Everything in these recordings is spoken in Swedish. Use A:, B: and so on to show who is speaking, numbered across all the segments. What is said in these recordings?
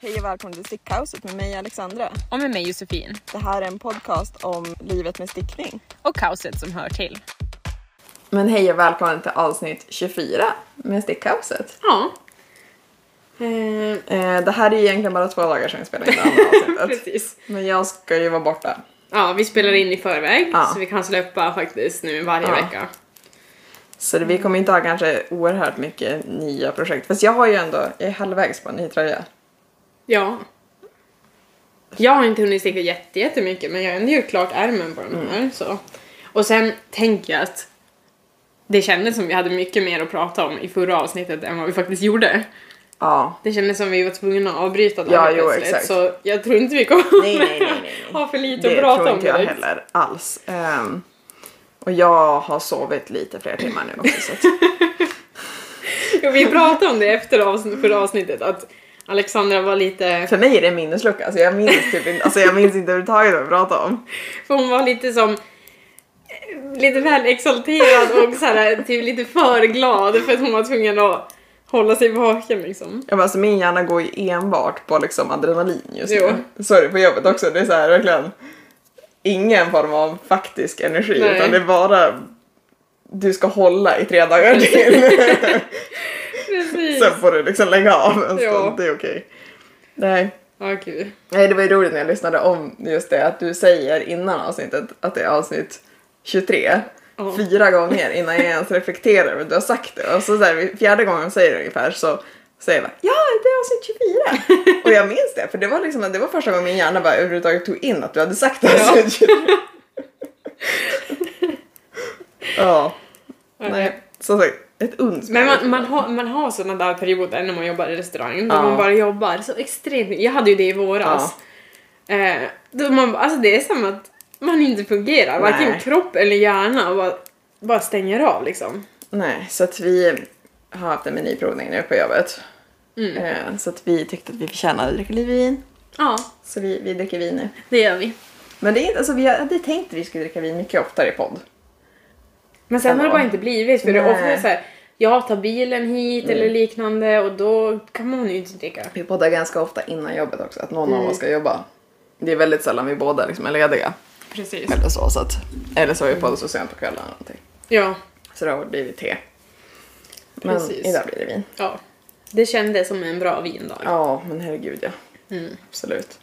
A: Hej och välkommen till Stickkaoset med mig Alexandra.
B: och med mig Josefin
A: Det här är en podcast om livet med stickning.
B: och kaoset som hör till.
A: Men hej och välkommen till avsnitt 24 med Stickkaoset.
B: Ja,
A: Eh, det här är egentligen bara två dagar sedan vi spelade in det andra avsnittet.
B: precis.
A: Men jag ska ju vara borta.
B: Ja, vi spelar in i förväg
A: Ja.
B: så vi kan släppa faktiskt nu varje
A: Ja.
B: vecka.
A: Så det, vi kommer inte ha kanske oerhört mycket nya projekt. Fast jag har ju ändå, jag är halvvägs på en ny tröja.
B: Ja. Jag har inte hunnit sticka jätte- jättemycket men jag har ändå gjort klart ärmen på den här.
A: Mm.
B: Så. Och sen tänker jag att det kändes som vi hade mycket mer att prata om i förra avsnittet än vad vi faktiskt gjorde.
A: Ja.
B: Det kändes som vi var tvungna att avbryta det
A: Ja,
B: här
A: jo,
B: plötsligt,
A: exakt.
B: så jag tror inte vi kommer
A: Nej, nej, nej, nej, nej.
B: ha för lite
A: Det
B: att prata
A: tror
B: om
A: inte jag
B: direkt.
A: heller alls. Ehm, och jag har sovit lite fler timmar nu också. Så att,
B: Jo, vi pratade om det efter avsn- förra avsnittet att Alexandra var lite,
A: för mig är det en minneslucka. Alltså jag minns typ inte, alltså jag minns inte överhuvudtaget vad vi pratade om.
B: för hon var lite som eh, lite väl exalterad och så här, typ lite för glad för att hon var tvungen att hålla sig vaken liksom.
A: Jag bara, alltså min hjärna går ju enbart på liksom adrenalin just
B: Jo.
A: nu. Så är det på jobbet också. Det är så här verkligen ingen form av faktisk energi
B: Nej.
A: utan det är bara du ska hålla i tre dagar till.
B: Precis.
A: Sen får du liksom lägga av en
B: Ja.
A: stund. Det är okej. Nej.
B: Ja, gud.
A: Nej, det var ju roligt när jag lyssnade om just det att du säger innan avsnittet att det är avsnitt 23.
B: Ja.
A: Fyra gånger innan jag ens reflekterar över att du har sagt det. Och så, så här, vid fjärde gången jag säger det ungefär så säger jag bara, ja det är avsnitt 24. och jag minns det för det var liksom det var första gången min hjärna bara överhuvudtaget tog in att du hade sagt
B: Ja.
A: avsnitt 23. ja. Nej. Som sagt, ett uns.
B: Men man, man, har, man har såna där perioder när man jobbar i restaurang, då
A: Ja.
B: man bara jobbar så extremt mycket. Jag hade ju det i våras. Eh, då man, alltså det är som att man inte fungerar, varken
A: Nej.
B: kropp eller hjärna, och bara, bara stänger av liksom.
A: Nej, så att vi har haft en meniprovning nu på jobbet.
B: Mm.
A: Eh, Så att vi tyckte att vi förtjänade att dricka lite vin.
B: Ja,
A: Så vi, vi dricker vin nu.
B: det gör vi.
A: Men det är inte, alltså vi hade tänkt att vi skulle dricka vin mycket oftare i podd.
B: Men sen har det
A: Ändå.
B: bara inte blivit för det är
A: Nej. Mm.
B: ofta så här, jag tar bilen hit eller liknande och då kan man ju inte dricka.
A: Vi poddar ganska ofta innan jobbet också, att någon
B: Mm.
A: av oss ska jobba. Det är väldigt sällan vi båda liksom är lediga.
B: Precis.
A: Eller så, så att, eller så har vi
B: Mm.
A: poddat så sent på kvällen eller någonting.
B: Ja,
A: Så då blir det te. Men
B: Precis.
A: idag blir det vin.
B: ja. Det kändes som en bra vindag.
A: Ja, men herregud ja.
B: Mm.
A: Absolut.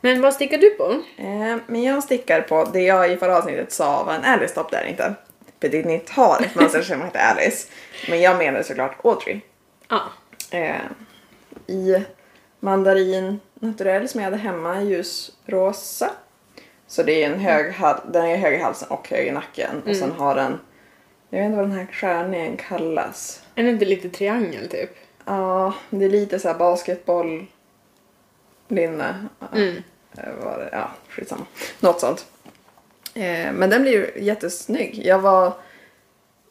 B: Men vad stickar du på?
A: Eh, men jag stickar på det jag i förra avsnittet sa var en Alice topp där inte. Petit Nitt har ett mönster som heter Alice. Men jag menar såklart Audrey.
B: Ja.
A: Eh, I mandarin naturell som jag hade hemma, ljusrosa. Så det är en hög, hal- den är hög i halsen och hög i nacken. Och sen har den, jag vet inte vad den här skärningen kallas.
B: Är det inte lite triangel typ?
A: Ja, det är lite så här basketboll, linne. Ja,
B: Mm.
A: eh, Var det? Ja, skitsamma. Något sånt. Eh, men den blir ju jättesnygg. Jag var...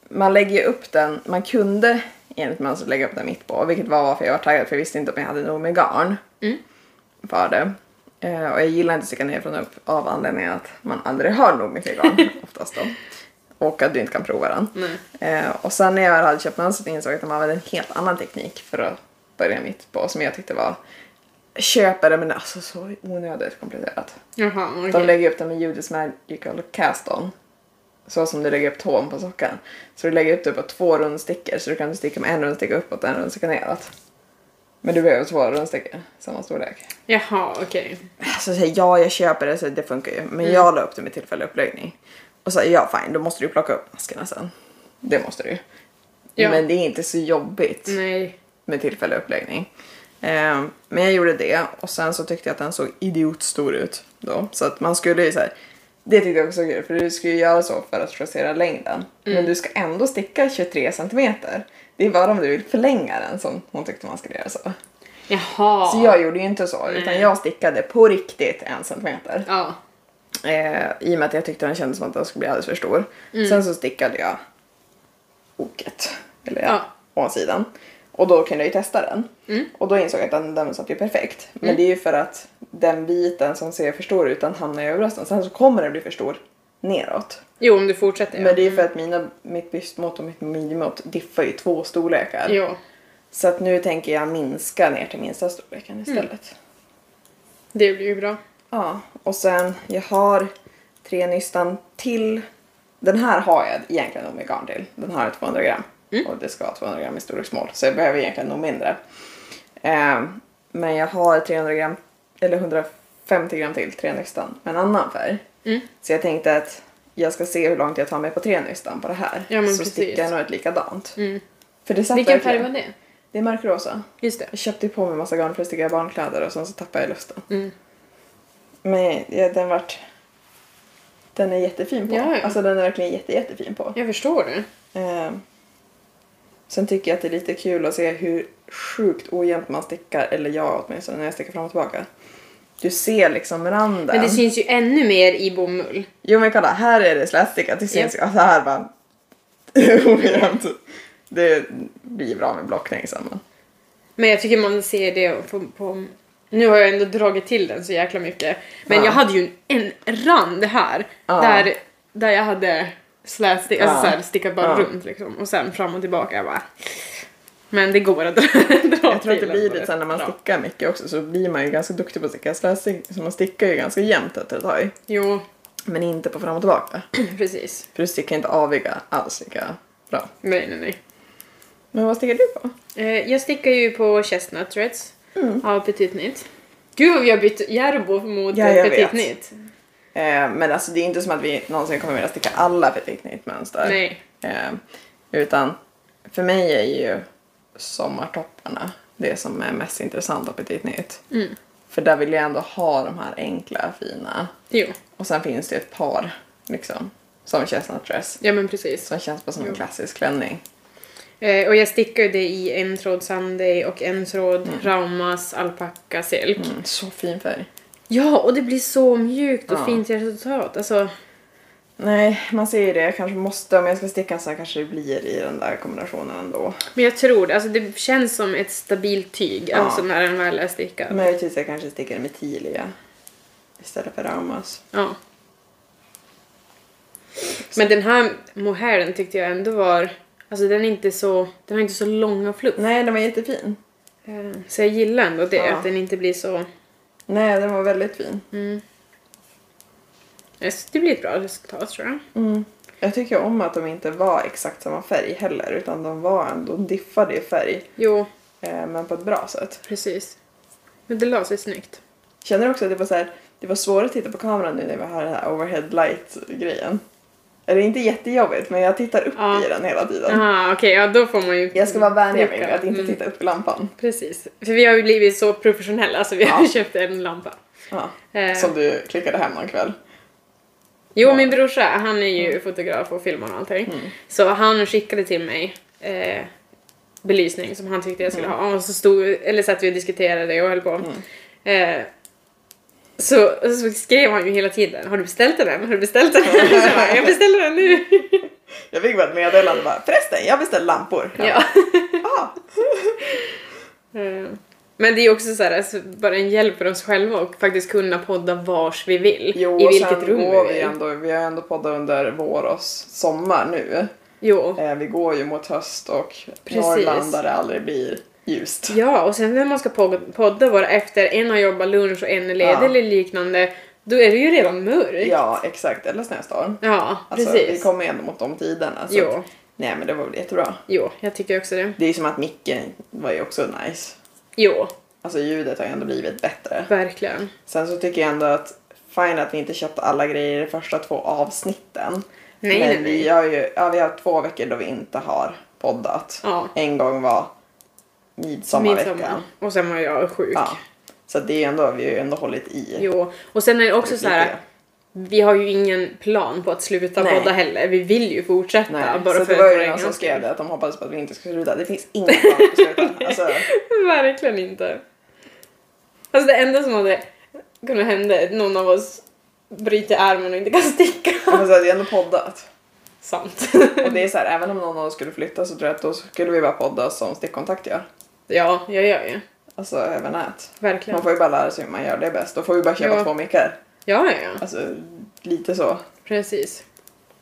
A: Man lägger ju upp den, man kunde enligt mönstret lägga upp den mitt på, vilket var varför jag var taggad för jag visste inte om jag hade nog med garn
B: Mm.
A: för det. Eh, och jag gillar inte att sticka ner från upp av anledningen att man aldrig har nog mycket garn oftast då. Och att du inte kan prova den.
B: Nej.
A: Eh, och sen när jag väl hade köpt mönstret insåg jag att de använde en helt annan teknik för att börja mitt på som jag tyckte var köpa det men alltså så onödigt komplicerat.
B: Jaha, okej.
A: De lägger upp den med Judas Magical Cast On. Så som du lägger upp tån på sockan. Så du lägger upp det på två rundstickor så du kan sticka med en rundsticka uppåt och en rundsticka neråt. Men du behöver två rundstickor, samma storlek.
B: Jaha, okej.
A: Alltså så här, ja, jag köper det så det funkar ju. Men jag la upp det med tillfällig uppläggning. Och så här, ja fine, då måste du plocka upp maskerna sen. Det måste du ju.
B: Ja. Mm.
A: Men det är inte så jobbigt
B: Nej.
A: med tillfällig uppläggning. Ehm, men jag gjorde det och sen så tyckte jag att den såg idiotstor ut då. Så att man skulle ju så här. Det tyckte jag också var kul för du skulle ju göra så för att justera längden. Men du ska ändå sticka 23 centimeter. Det är bara om du vill förlänga den som hon tyckte man skulle göra så.
B: Jaha.
A: Så jag gjorde ju inte så
B: Mm.
A: utan jag stickade på riktigt en centimeter.
B: Ja.
A: Eh, I och med att jag tyckte den kändes som att den skulle bli alldeles för stor.
B: Mm.
A: Sen så stickade jag oket, eller ja,
B: Ja. Mm.
A: ovansidan. Och då kunde jag ju testa den. Och då insåg jag att den, den satt ju perfekt. Men det är ju för att den biten som ser för stor ut den hamnar ju över brösten. Sen så kommer den bli för stor neråt.
B: Jo, om du fortsätter. ja. Mm.
A: Men det är ju för att mina, mitt bystmått och mitt midjemått diffar ju i två storlekar.
B: Jo.
A: Så att nu tänker jag minska ner till minsta storleken
B: Mm.
A: istället.
B: Det blir ju bra.
A: Ja, och sen jag har tre nystan till. Den här har jag egentligen nog med garn till. Den har jag 200 gram.
B: Mm.
A: Och det ska vara 200 gram i storleksmål. Så jag behöver egentligen nog mindre. Ehm, men jag har 300 gram, eller 150 gram till, tre nystan med en annan färg.
B: Mm.
A: Så jag tänkte att jag ska se hur långt jag tar mig på tre nystan på det här.
B: Ja, men
A: så
B: precis. Mm.
A: stickar jag nog ett likadant. För det satt
B: Vilken färg
A: verkligen.
B: var det?
A: Det är mörkrosa.
B: Just det.
A: Jag köpte ju på mig massa garn för att sticka barnkläder och sen så tappade jag lusten.
B: Mm.
A: Men ja, den vart... Den är jättefin på.
B: Ja, ja.
A: Alltså den är verkligen jätte, jättefin på.
B: Jag förstår det.
A: Ehm, sen tycker jag att det är lite kul att se hur sjukt ojämnt man stickar, eller jag åtminstone, när jag stickar fram och tillbaka. Du ser liksom randen.
B: Men det syns ju ännu mer i bomull.
A: Jo men kolla, här är det slätstickat. Det syns ju. Så alltså, här bara... ojämnt. Det blir bra med blockning sen. men-
B: Men jag tycker man ser det på... på nu har jag ändå dragit till den så jäkla mycket. Men
A: Ja.
B: jag hade ju en, en rand här.
A: Ja.
B: Där, där jag hade slätstick, alltså
A: Ja.
B: så här, stickat bara
A: Ja.
B: runt liksom. Och sen fram och tillbaka. Jag bara... Men det går att dra, dra
A: Jag tror att det
B: till
A: blir
B: ändå
A: lite
B: rätt
A: så här när man
B: bra.
A: stickar mycket också så blir man ju ganska duktig på att sticka. Så, där stick, så man stickar ju ganska jämnt efter ett tag.
B: Jo,
A: Men inte på fram och tillbaka.
B: precis.
A: För du stickar inte aviga alls lika bra.
B: Nej, nej, nej.
A: Men vad stickar du på?
B: Eh, jag stickar ju på chestnut threads
A: Mm.
B: av Petit Knit. Gud vad vi har bytt Järbo mot
A: Ja,
B: eh,
A: jag
B: Petit
A: vet.
B: Knit.
A: Eh, men alltså det är inte som att vi någonsin kommer vilja sticka alla petit knit mönster.
B: Nej.
A: Eh, utan för mig är ju sommartopparna det som är mest intressant av petit knit. För där vill jag ändå ha de här enkla, fina.
B: Jo,
A: Och sen finns det ett par liksom som chestnut dress.
B: ja men precis.
A: Som känns bara som en klassisk klänning.
B: Eh, och jag stickar ju det i en tråd Sunday och en tråd Raumas alpacca silk.
A: Mm, så fin färg.
B: Ja, och det blir så mjukt och
A: Ja.
B: fint resultat. Alltså,
A: Nej, man ser ju det. Jag kanske måste, om jag ska sticka så här kanske det blir i den där kombinationen ändå.
B: men jag tror det. Alltså, det känns som ett stabilt tyg
A: Ja.
B: alltså, när den väl är stickad.
A: Möjligtvis jag kanske stickar med Tilia istället för Raumas.
B: Ja. Men den här mohairen tyckte jag ändå var... Alltså den är inte så... Den har inte så långa fluff.
A: Nej, den var jättefin.
B: Eh, Så jag gillar ändå det,
A: Mm. Ja.
B: att den inte blir så...
A: Nej, den var väldigt fin.
B: Eh, så Det blir ett bra resultat tror jag.
A: Mm. Jag tycker om att de inte var exakt samma färg heller, utan de var ändå diffade i färg,
B: Jo,
A: eh, men på ett bra sätt.
B: precis. Men det la sig snyggt.
A: Känner du också att det var så här, det var svårt att titta på kameran nu när vi har den här overhead light-grejen? Eller inte jättejobbigt, men jag tittar upp
B: Ja.
A: i den hela tiden.
B: Ah, okej, ja Mm. då får man ju...
A: Jag ska vara vänlig
B: Lycka.
A: med att inte titta upp i lampan.
B: Precis. För vi har ju blivit så professionella så vi har
A: Ja.
B: köpt en lampa.
A: Ja.
B: Eh,
A: Som du klickade hem någon kväll.
B: Jo, min brorsa, han är ju fotograf och filmar och allting.
A: Mm.
B: Så han skickade till mig eh, belysning som han tyckte jag
A: Mm.
B: skulle ha. Och så stod, eller satt vi och diskuterade och höll på. Eh, så, och så skrev han ju hela tiden, har du beställt den än? Har du beställt den än? Så jag, bara, jag beställer den nu!
A: Jag fick bara ett meddelande bara, förresten jag beställde lampor.
B: Ja.
A: Ah,
B: Eh, Men det är ju också så här, alltså, bara en hjälp för oss själva och faktiskt kunna podda vars vi vill.
A: jo,
B: I
A: och
B: vilket
A: sen
B: rum
A: går
B: vi
A: vi
B: vill.
A: ändå, vi har ändå poddat under vår och sommar nu.
B: Jo.
A: Eh, vi går ju mot höst och
B: Precis.
A: Norrland där det aldrig blir ljust.
B: Ja, och sen när man ska pod- podda bara efter en har jobbat lunch och en är ledig
A: Ja.
B: eller liknande, då är det ju redan mörkt.
A: Ja, exakt. Eller snöstorm.
B: Ja,
A: Alltså, vi
B: precis.
A: kommer ju ändå mot de tiderna. Så
B: Jo.
A: att, nej, men det var väl jättebra.
B: Jo, jag tycker också det.
A: Det är ju som att micken var ju också nice.
B: Jo,
A: Alltså ljudet har ju ändå blivit bättre.
B: verkligen.
A: Sen så tycker jag ändå att fine att vi inte köpte alla grejer i de första två avsnitten.
B: Nej,
A: men
B: nej, nej.
A: vi har ju ja, vi har två veckor då vi inte har poddat.
B: Ja.
A: En gång var midsommarveckan.
B: Midsommar. Och sen var jag sjuk.
A: Ja. Så det är ju ändå, vi har ju ändå hållit i.
B: Jo, och sen är det också
A: Lite.
B: så här. Vi har ju ingen plan på att sluta
A: Nej.
B: podda heller. Vi vill ju fortsätta.
A: Nej,
B: bara
A: så
B: för
A: det var
B: vår
A: ju
B: egen
A: någon som
B: skull.
A: skrev det att de hoppades på att vi inte skulle sluta. Det finns inget plan på slutet. Alltså,
B: Verkligen inte. Alltså det enda som hade kunnat hända är att någon av oss bryter armen och inte kan sticka.
A: alltså, vi har ändå poddat.
B: Sant.
A: Och det är så här, även om någon av oss skulle flytta så tror jag att då skulle vi bara podda som stickkontakt gör.
B: ja, jag gör ju.
A: Alltså över nät.
B: Verkligen.
A: Man får ju bara lära sig hur man gör det bäst. Då får vi bara köpa
B: Ja.
A: två mickar.
B: Ja, ja, ja.
A: Alltså lite så.
B: Precis.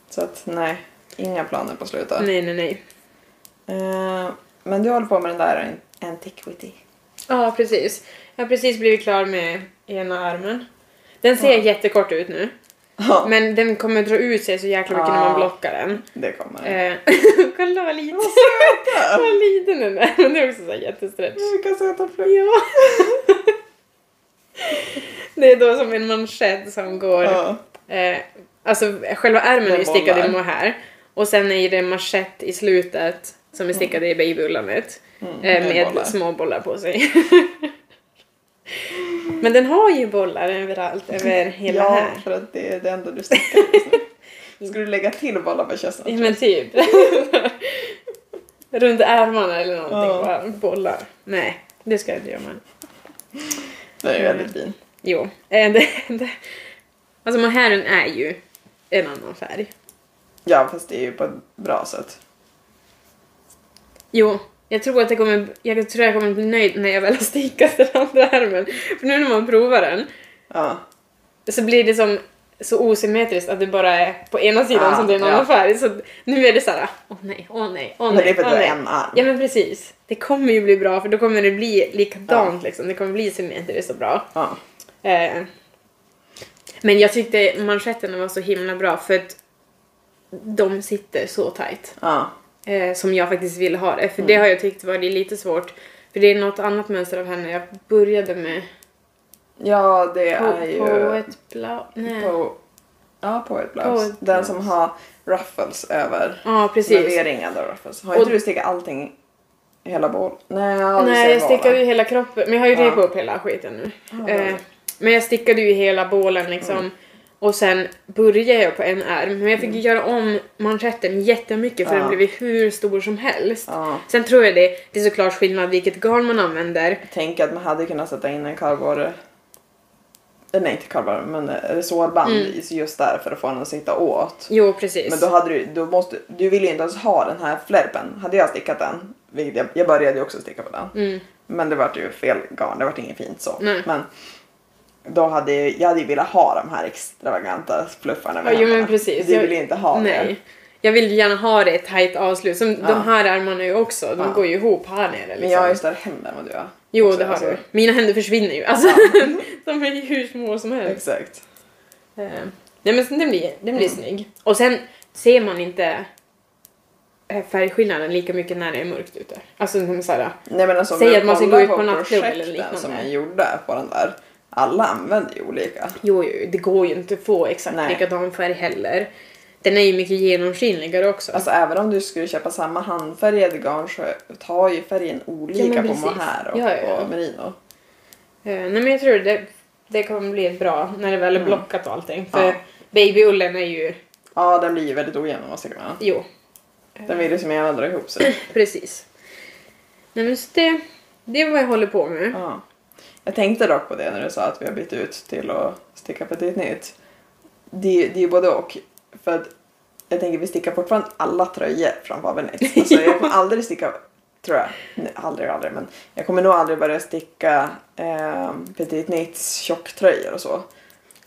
A: Så att nej, inga planer på slutet.
B: Nej, nej, nej.
A: Eh, Men du håller på med den där Antiquity.
B: Ja, precis. Jag har precis blivit klar med ena armen. Den ser jättekort ut nu.
A: Ja,
B: Men den kommer dra ut sig så jäkla mycket när
A: Ja.
B: man blockar den.
A: det kommer.
B: Eh, kolla vad liten! vad liten den är! Den är också så här jättestretch.
A: Vilka söta flugor.
B: Ja. Det är då som en manschett som går...
A: Ja.
B: Eh, alltså själva ärmen är ju
A: Den
B: stickad i
A: bollar.
B: mohair och sen är det manschett i slutet som är stickad
A: Mm.
B: i babyullanet eh,
A: med
B: med
A: Mm. bollar.
B: små bollar på sig. Men den har ju bollar överallt, över hela
A: ja,
B: här.
A: för att det är det enda du stickar just nu. Ska du lägga till bollar på
B: Ja,
A: köksnätet?
B: men typ. Runt ärmarna eller någonting,
A: Ja.
B: bara bollar. Nej, det ska jag inte göra. Men...
A: Den är ju väldigt fin.
B: Jo. Eh, det, det. Alltså mohairen är ju en annan färg.
A: Ja, fast det är ju på ett bra sätt.
B: Jo, jag tror att jag kommer, jag tror jag kommer bli nöjd när jag väl har stickat den andra ärmen. För nu när man provar den
A: Ja.
B: så blir det som så osymmetriskt att det bara är på ena sidan
A: Ah,
B: som det är en
A: ja.
B: annan färg. Så nu är det såhär, åh nej, åh nej, åh
A: Men det
B: nej.
A: är för att
B: åh
A: du
B: nej.
A: har en arm.
B: Ja men precis. Det kommer ju bli bra för då kommer det bli likadant liksom. Det kommer bli symmetriskt och bra.
A: Ja.
B: Eh, men jag tyckte manschetterna var så himla bra för att de sitter så tight.
A: ja.
B: eh, som jag faktiskt vill ha det. För det
A: Mm.
B: har jag tyckt varit lite svårt. För det är något annat mönster av henne jag började med.
A: Ja, det
B: På,
A: är ju...
B: på ett blå... Nej. Ja,
A: På, ja, på ett
B: På
A: blouse.
B: ett
A: Den
B: blouse.
A: som har ruffles över.
B: precis.
A: Serveringen av ruffles. Har
B: Och-
A: inte du stickat allting? Hela bol? Nej, ja, du
B: Nej,
A: säger
B: jag stickade ju
A: bålen.
B: hela kroppen. Men jag har ju
A: Ja.
B: repat upp hela skiten nu.
A: Ja, bra. Mm.
B: eh, men jag stickade ju hela bålen liksom. Och sen började jag på en ärm. Men jag fick ju göra om manschetten jättemycket för
A: Ja.
B: den blev ju hur stor som helst.
A: Ja.
B: Sen tror jag det, det är såklart skillnad vilket garn man använder.
A: Tänk att man hade kunnat sätta in en kardborre. eh, Nej, inte kardborre, men eh, resårband i just där för att få den att sitta åt.
B: Jo, Mm. precis.
A: Men då hade du, då måste, du ville ju inte ens ha den här flärpen. Hade jag stickat den, vilket jag, jag började ju också sticka på den.
B: Mm.
A: Men det vart ju fel garn, det vart inget fint så.
B: Nej.
A: Men då hade jag, jag hade ju velat ha de här extravaganta fluffarna
B: Ja,
A: med
B: jo men
A: händerna.
B: precis.
A: Du
B: Jag-
A: ville inte ha
B: Nej. Jag vill gärna ha det ett tajt avslut. Som
A: Ja.
B: de här ärmarna ju också, de
A: Ja.
B: går ju ihop här nere liksom.
A: det. Men jag har ju större händer än vad du har.
B: Jo,
A: Också,
B: det har
A: alltså,
B: du. Mina händer försvinner ju. Alltså, de är ju hur små som helst.
A: Exakt. Mm.
B: Eh, Nej men sen den blir, den blir snygg. Och sen ser man inte eh, färgskillnaden lika mycket när det är mörkt ute. Alltså som såhär,
A: Nej, men alltså, om
B: Säg
A: jag
B: att man ska
A: kollar
B: gå ut på nattklubb eller
A: projekten
B: liknande.
A: som jag gjorde på den där. Alla använder ju olika.
B: jo, jo det går ju inte att få exakt
A: Nej.
B: likadan färg heller. Den är ju mycket genomskinligare också.
A: Alltså även om du skulle köpa samma handfärgade garn så tar ju färgen olika
B: Ja, men
A: på
B: precis.
A: mohair och
B: Ja, ja, ja.
A: på merino.
B: Eh, nej men jag tror det, det kommer bli bra när det väl är
A: Mm.
B: blockat och allting. För
A: Ja.
B: babyullen är ju,
A: Ja, den blir ju väldigt ojämn om man sticker med den.
B: jo,
A: Den vill ju som gärna dra ihop sig.
B: precis. Nej men så det, det är vad jag håller på med.
A: Ja. Jag tänkte dock på det när du sa att vi har bytt ut till att sticka på ett helt nytt. Det, det är ju både och. För att jag tänker vi stickar fortfarande alla tröjor från Faber Nitt. Alltså jag kommer aldrig sticka, tror jag. Nej, aldrig, aldrig. Men jag kommer nog aldrig börja sticka eh, Petit Nits tjocktröjor och så.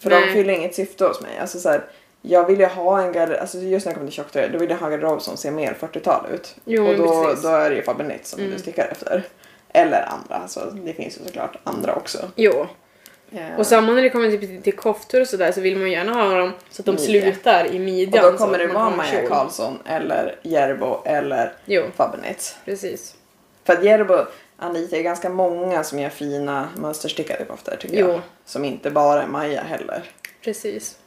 A: För de
B: Nej.
A: fyller inget syfte hos mig. Alltså så här, jag vill ju ha en garderob, alltså just när jag kommer till tjocktröjor, då vill jag ha en garderob som ser mer 40-tal ut.
B: Jo,
A: och
B: men
A: då,
B: precis.
A: då är det ju Faber Nitt som du stickar efter. Eller andra, alltså, det finns ju såklart andra också.
B: Jo.
A: Eh,
B: Och samma när det kommer till, till koftor och sådär så vill man ju gärna ha dem så att de
A: Midja.
B: slutar i
A: och
B: midjan.
A: då
B: så
A: kommer
B: att
A: det
B: man
A: vara
B: har en
A: Maja
B: kjol.
A: Karlsson eller Järbo eller
B: Jo,
A: Faber Nitt.
B: precis.
A: För att Järbo anlitar ju ganska många som gör fina mönsterstickade koftor tycker
B: Jo.
A: jag. Som inte bara är Maja heller.
B: Precis.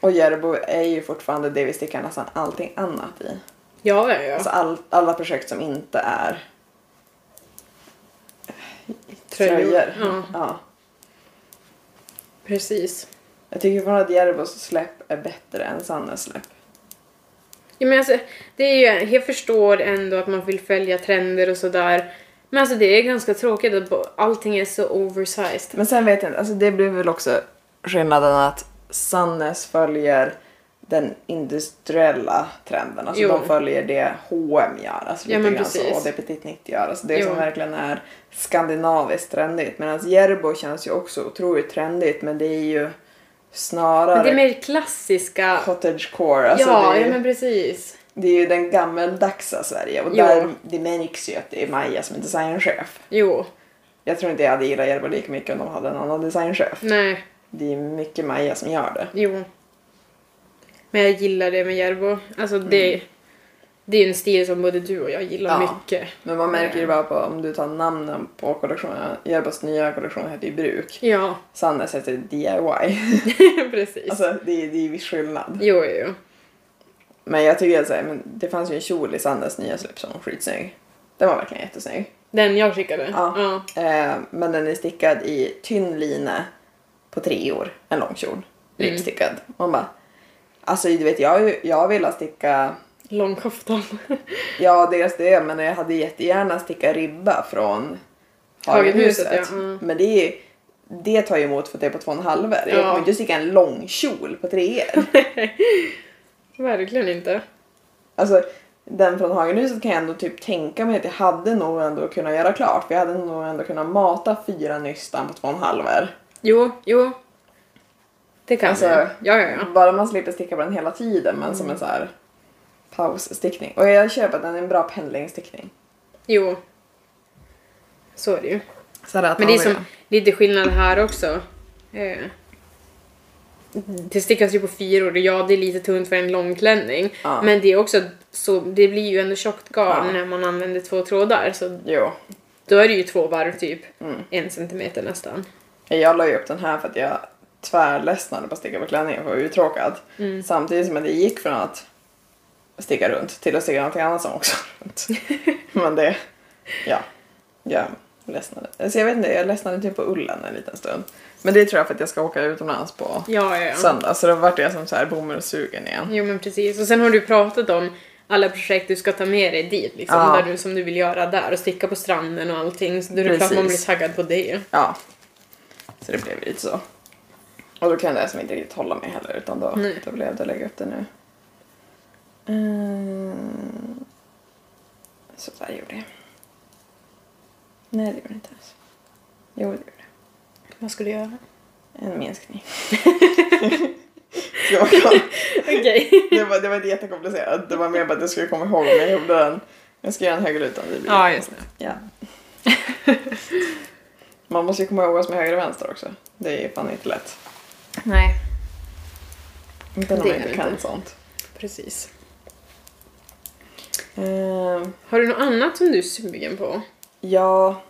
A: Och Järbo är ju fortfarande det vi stickar nästan allting annat i.
B: Ja, ja, ja.
A: Alltså all, alla projekt som inte är tröjor.
B: Ja,
A: Ja.
B: precis.
A: Jag tycker fortfarande att Järbos släpp är bättre än Sannes släpp.
B: Ja, men alltså, det är ju, jag förstår ändå att man vill följa trender och sådär. Men alltså det är ganska tråkigt att bo- allting är så oversized.
A: Men sen vet jag inte, alltså det blir väl också skillnaden att Sannes följer den industriella trenden. Alltså
B: Jo.
A: de följer det H&M gör. Alltså lite
B: Ja, men
A: grann så,
B: precis.
A: och det Petit Nitt gör. Alltså det
B: Jo.
A: som verkligen är skandinaviskt trendigt. Medan Järbo känns ju också otroligt trendigt men det är ju snarare
B: Men det är mer klassiska...
A: cottagecore. Alltså
B: ja,
A: det är,
B: ja men precis.
A: det är ju den gammeldagsa Sverige och
B: Ja.
A: där, det märks ju att det är Maja som är designchef.
B: Jo.
A: Jag tror inte jag hade gillat Järva lika mycket om de hade en annan designchef.
B: Nej.
A: Det är mycket Maja som gör det.
B: Jo. Men jag gillar det med Järbo. Alltså det, det är ju en stil som både du och jag gillar
A: Mm. Ja.
B: mycket.
A: Men man märker ju bara på om du tar namnen på kollektionerna. Järbas nya kollektion heter ju Bruk.
B: Ja,
A: Sannes heter DIY.
B: precis.
A: Alltså det är, det är viss skillnad.
B: Jo, jo, jo.
A: Men jag tycker att så här, men det fanns ju en kjol i Sannes nya släpp som var skitsnygg. Den var verkligen jättesnygg.
B: Den jag skickade.
A: Ja. Eh, men den är stickad i tynn line på tre år. En lång kjol. Ripstickad. Man bara... Alltså du vet jag, har ju- jag vill sticka
B: Långkoftan.
A: Ja, dels det, men jag hade jättegärna sticka ribba från
B: Hagenhuset,
A: Hagenhuset.
B: ja, mm.
A: Men det, är, ju- det tar ju emot för att det är på två och en halv Jag
B: Ja.
A: kommer inte sticka en lång kjol på treor.
B: Verkligen inte.
A: alltså, den från Hagenhuset kan jag ändå typ tänka mig att jag hade nog ändå kunnat göra klart. För jag hade nog ändå kunnat mata fyra nystan på två och en halv
B: Jo, jo. Det kan
A: Alltså-
B: jag. Ja, ja, Mm. ja.
A: Bara man slipper sticka på den hela tiden, men som en så här pausstickning. Och jag köper att den är en bra pendlingsstickning.
B: Jo. Så är det ju.
A: Så här att
B: Men det är
A: man vill-
B: som lite skillnad här också. Eh, Det stickas ju på fyror och ja, det är lite tunt för en långklänning.
A: Ja.
B: Men det är också så, det blir ju ändå tjockt garn
A: Ja.
B: när man använder två trådar. Så
A: Jo.
B: då är det ju två varv typ.
A: Mm.
B: En centimeter nästan.
A: Jag la ju upp den här för att jag tvärledsnade på att sticka på klänningen för jag var uttråkad. Samtidigt som att jag gick från att sticka runt till att sticka någonting annat som också var runt. Men det, ja, jag ledsnade. Alltså jag vet inte, jag ledsnade typ på ullen en liten stund. Men det tror jag för att jag ska åka utomlands på
B: Ja, ja, ja.
A: söndag så då vart jag som så här bomullssugen igen.
B: Jo men precis. Och sen har du pratat om alla projekt du ska ta med dig dit liksom,
A: Ja.
B: där du, som du vill göra där och sticka på stranden och allting. Så då är det klart man blir
A: Precis.
B: taggad på det.
A: Ja. Så det blev lite så. Och då kunde jag som inte riktigt hålla mig heller utan då,
B: Nej.
A: då blev det att lägga upp det nu. Mm. Så där gjorde jag. Nej det gjorde jag inte alls. Jo det gjorde jag.
B: Vad ska du göra?
A: En minskning. Ska jag kolla?
B: Okej.
A: det, var, det var inte jättekomplicerat. Det var mer bara att jag skulle komma ihåg om jag gjorde den. Jag ska göra en högerlutad. det blir
B: Ja,
A: jättekonstigt.
B: just det.
A: Ja. Man måste ju komma ihåg vad som är höger och vänster också. Det är ju fan inte lätt.
B: Nej.
A: Inte när
B: Det
A: man
B: är
A: inte
B: det
A: kan
B: inte.
A: sånt.
B: Precis.
A: Ehm,
B: Har du något annat som du är sugen på?
A: ja,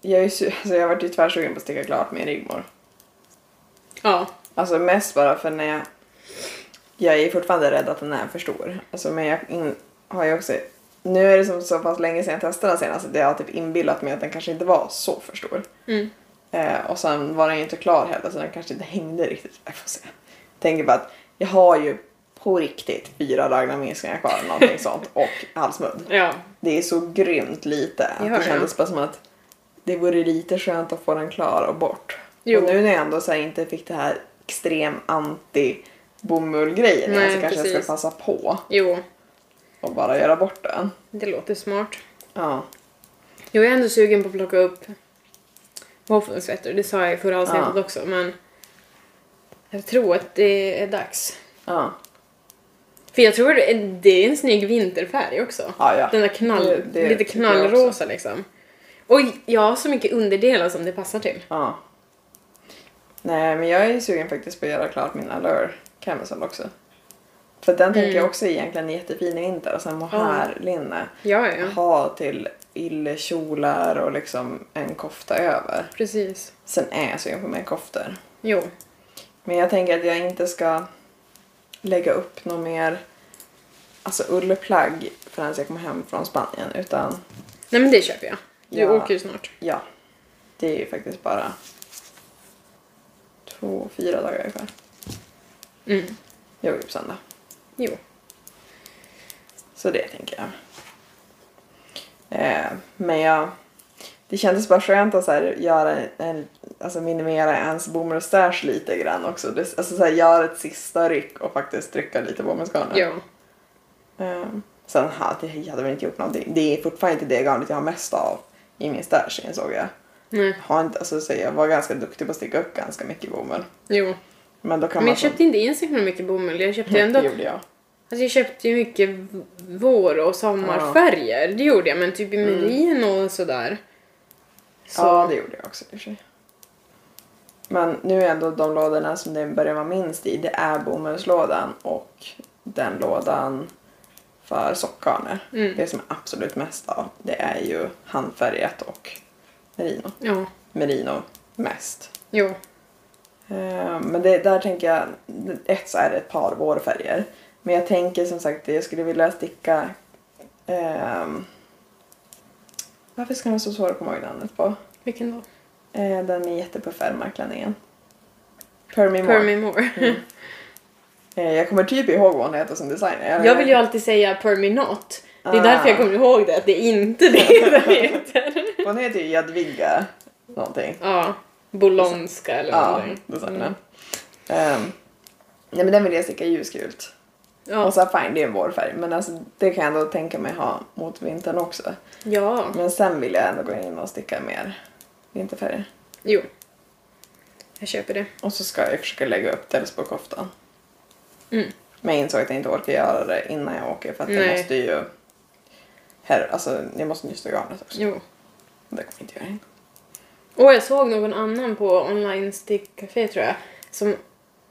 A: jag, är ju, su- alltså jag har varit ju tvärsugen på att sticka klart med Rigmor.
B: Ja.
A: Alltså mest bara för när jag... Jag är fortfarande rädd att den är för stor. Alltså, men jag in, har ju också... Nu är det som så pass länge sedan jag testade den senast att jag har typ inbillat mig att den kanske inte var så för stor.
B: Mm.
A: Eh, och sen var den ju inte klar heller så den kanske inte hängde riktigt. Jag får se. Tänker bara att jag har ju på riktigt fyra dragna minskningar kvar eller någonting sånt och halsmudd.
B: Ja.
A: Det är så grymt lite. att
B: Ja,
A: det
B: ja.
A: kändes bara som att det vore lite skönt att få den klar och bort.
B: Jo.
A: Och nu när jag ändå så här inte fick det här extrem anti bomullgrejen
B: Nej,
A: så kanske jag
B: precis.
A: ska passa på
B: Jo.
A: och bara göra bort den.
B: Det låter smart.
A: Ja.
B: Jo, jag är ändå sugen på att plocka upp våffelsvetter. Det sa jag i förra avsnittet
A: Ja.
B: också, men jag tror att det är dags.
A: Ja.
B: För jag tror det är, det är en snygg vinterfärg också.
A: Ja, ja.
B: Den där knall,
A: Det- det
B: lite
A: tycker jag
B: knallrosa liksom. Och jag har så mycket underdelar som det passar till.
A: ja. Nej men jag är ju sugen faktiskt på att göra klart min Allure camisole också. För den tänker jag också är egentligen är jättefin i vinter. Alltså mohairlinne.
B: Ja, ja, ja.
A: Ha till yllekjolar och liksom en kofta över.
B: Precis.
A: Sen är jag sugen på mer koftor.
B: Jo.
A: Men jag tänker att jag inte ska lägga upp något mer alltså ullplagg förrän jag kommer hem från Spanien. Utan
B: Nej men det köper jag. Du
A: Ja.
B: åker ju snart.
A: ja, det är ju faktiskt bara två, fyra dagar ungefär.
B: Mm.
A: Jag går ju på söndag.
B: Jo.
A: Så det tänker jag. Eh, men jag... Det kändes bara skönt att så här, göra en- en, alltså minimera ens bomullsstash lite grann också. Det, alltså så här, göra ett sista ryck och faktiskt trycka lite bomullsgarnet.
B: Ja.
A: Ehm, sen hade jag hade väl inte gjort någonting. Det är fortfarande inte det garnet jag har mest av i min stash insåg jag.
B: Nej.
A: Jag Har inte, alltså, så jag var ganska duktig på att sticka upp ganska mycket bomull.
B: Jo.
A: Men då kan
B: Men
A: man...
B: jag
A: som-
B: köpte inte in så himla mycket bomull. Jag köpte ändå
A: alltså. Det gjorde jag.
B: Alltså jag köpte ju mycket v- vår och sommarfärger. Det gjorde jag, men typ i menyn och sådär. Så,
A: Mm. Ja, det gjorde jag också i och för sig. Men nu är ändå de lådorna som det börjar vara minst i, det är bomullslådan och den lådan för sockgarner.
B: Mm.
A: Det som är absolut mest av, det är ju handfärgat och merino.
B: ja.
A: Merino mest.
B: Jo.
A: Eh, Men det, där tänker jag, ett så är det ett par vårfärger. Men jag tänker som sagt, jag skulle vilja sticka... ehm, varför ska de vara så svåra att komma ihåg namnet på?
B: Vilken då?
A: Eh, den är jättepuff ärmar-klänningen. Permy Moore.
B: Permy Moore.
A: Eh, jag kommer typ ihåg vad hon heter som designer.
B: Jag vill ju alltid säga Permy Not. Det är
A: Ah.
B: därför jag kommer ihåg det, att det är inte det den heter.
A: Hon heter ju Jadwiga någonting.
B: Ja, Bolonska eller
A: Ja,
B: någonting.
A: designen. Ehm, nej men den vill jag sticka i ljusgult.
B: Ja.
A: Och så här, fine, det är en vårfärg. Men alltså, det kan jag ändå tänka mig ha mot vintern också.
B: ja,
A: Men sen vill jag ändå gå in och sticka mer vinterfärger.
B: jo. Jag köper det.
A: Och så ska jag försöka lägga upp dels på koftan.
B: Mm.
A: Men jag insåg att jag inte orkar göra det innan jag åker för att jag
B: Nej.
A: måste ju... Här, alltså, jag måste nysta garnet också.
B: Jo.
A: Det kommer jag inte göra in.
B: Och jag såg någon annan på online stickcafé tror jag, som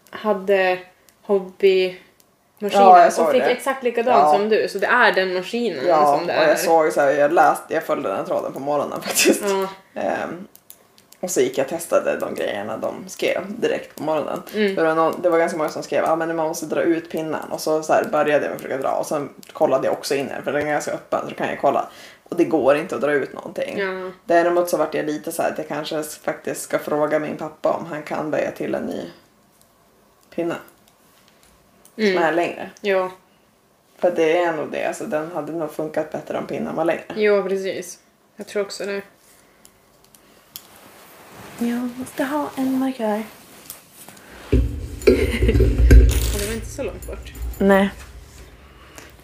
B: hade hobbymaskinen
A: Ja, jag såg
B: och fick
A: det.
B: exakt likadan
A: Ja.
B: som du. Så det är den maskinen
A: Ja,
B: som
A: och
B: det är.
A: jag såg så här, jag läste, jag följde den tråden på morgonen faktiskt.
B: Ja,
A: Ehm, och så gick jag och testade de grejerna de skrev direkt på morgonen.
B: Mm.
A: För det, var någon, det var ganska många som skrev att ah, men man måste dra ut pinnen och så, så här började jag med att försöka dra och sen kollade jag också in den för den är ganska öppen så då kan jag kolla. Och det går inte att dra ut någonting.
B: ja.
A: Däremot så vart jag lite så här att jag kanske faktiskt ska fråga min pappa om han kan böja till en ny pinne. Som är längre.
B: Jo.
A: För det är nog det, alltså den hade nog funkat bättre om pinnen var längre.
B: jo, precis. Jag tror också det.
A: Jag måste ha en markör.
B: Och det var inte så långt bort.
A: Nej.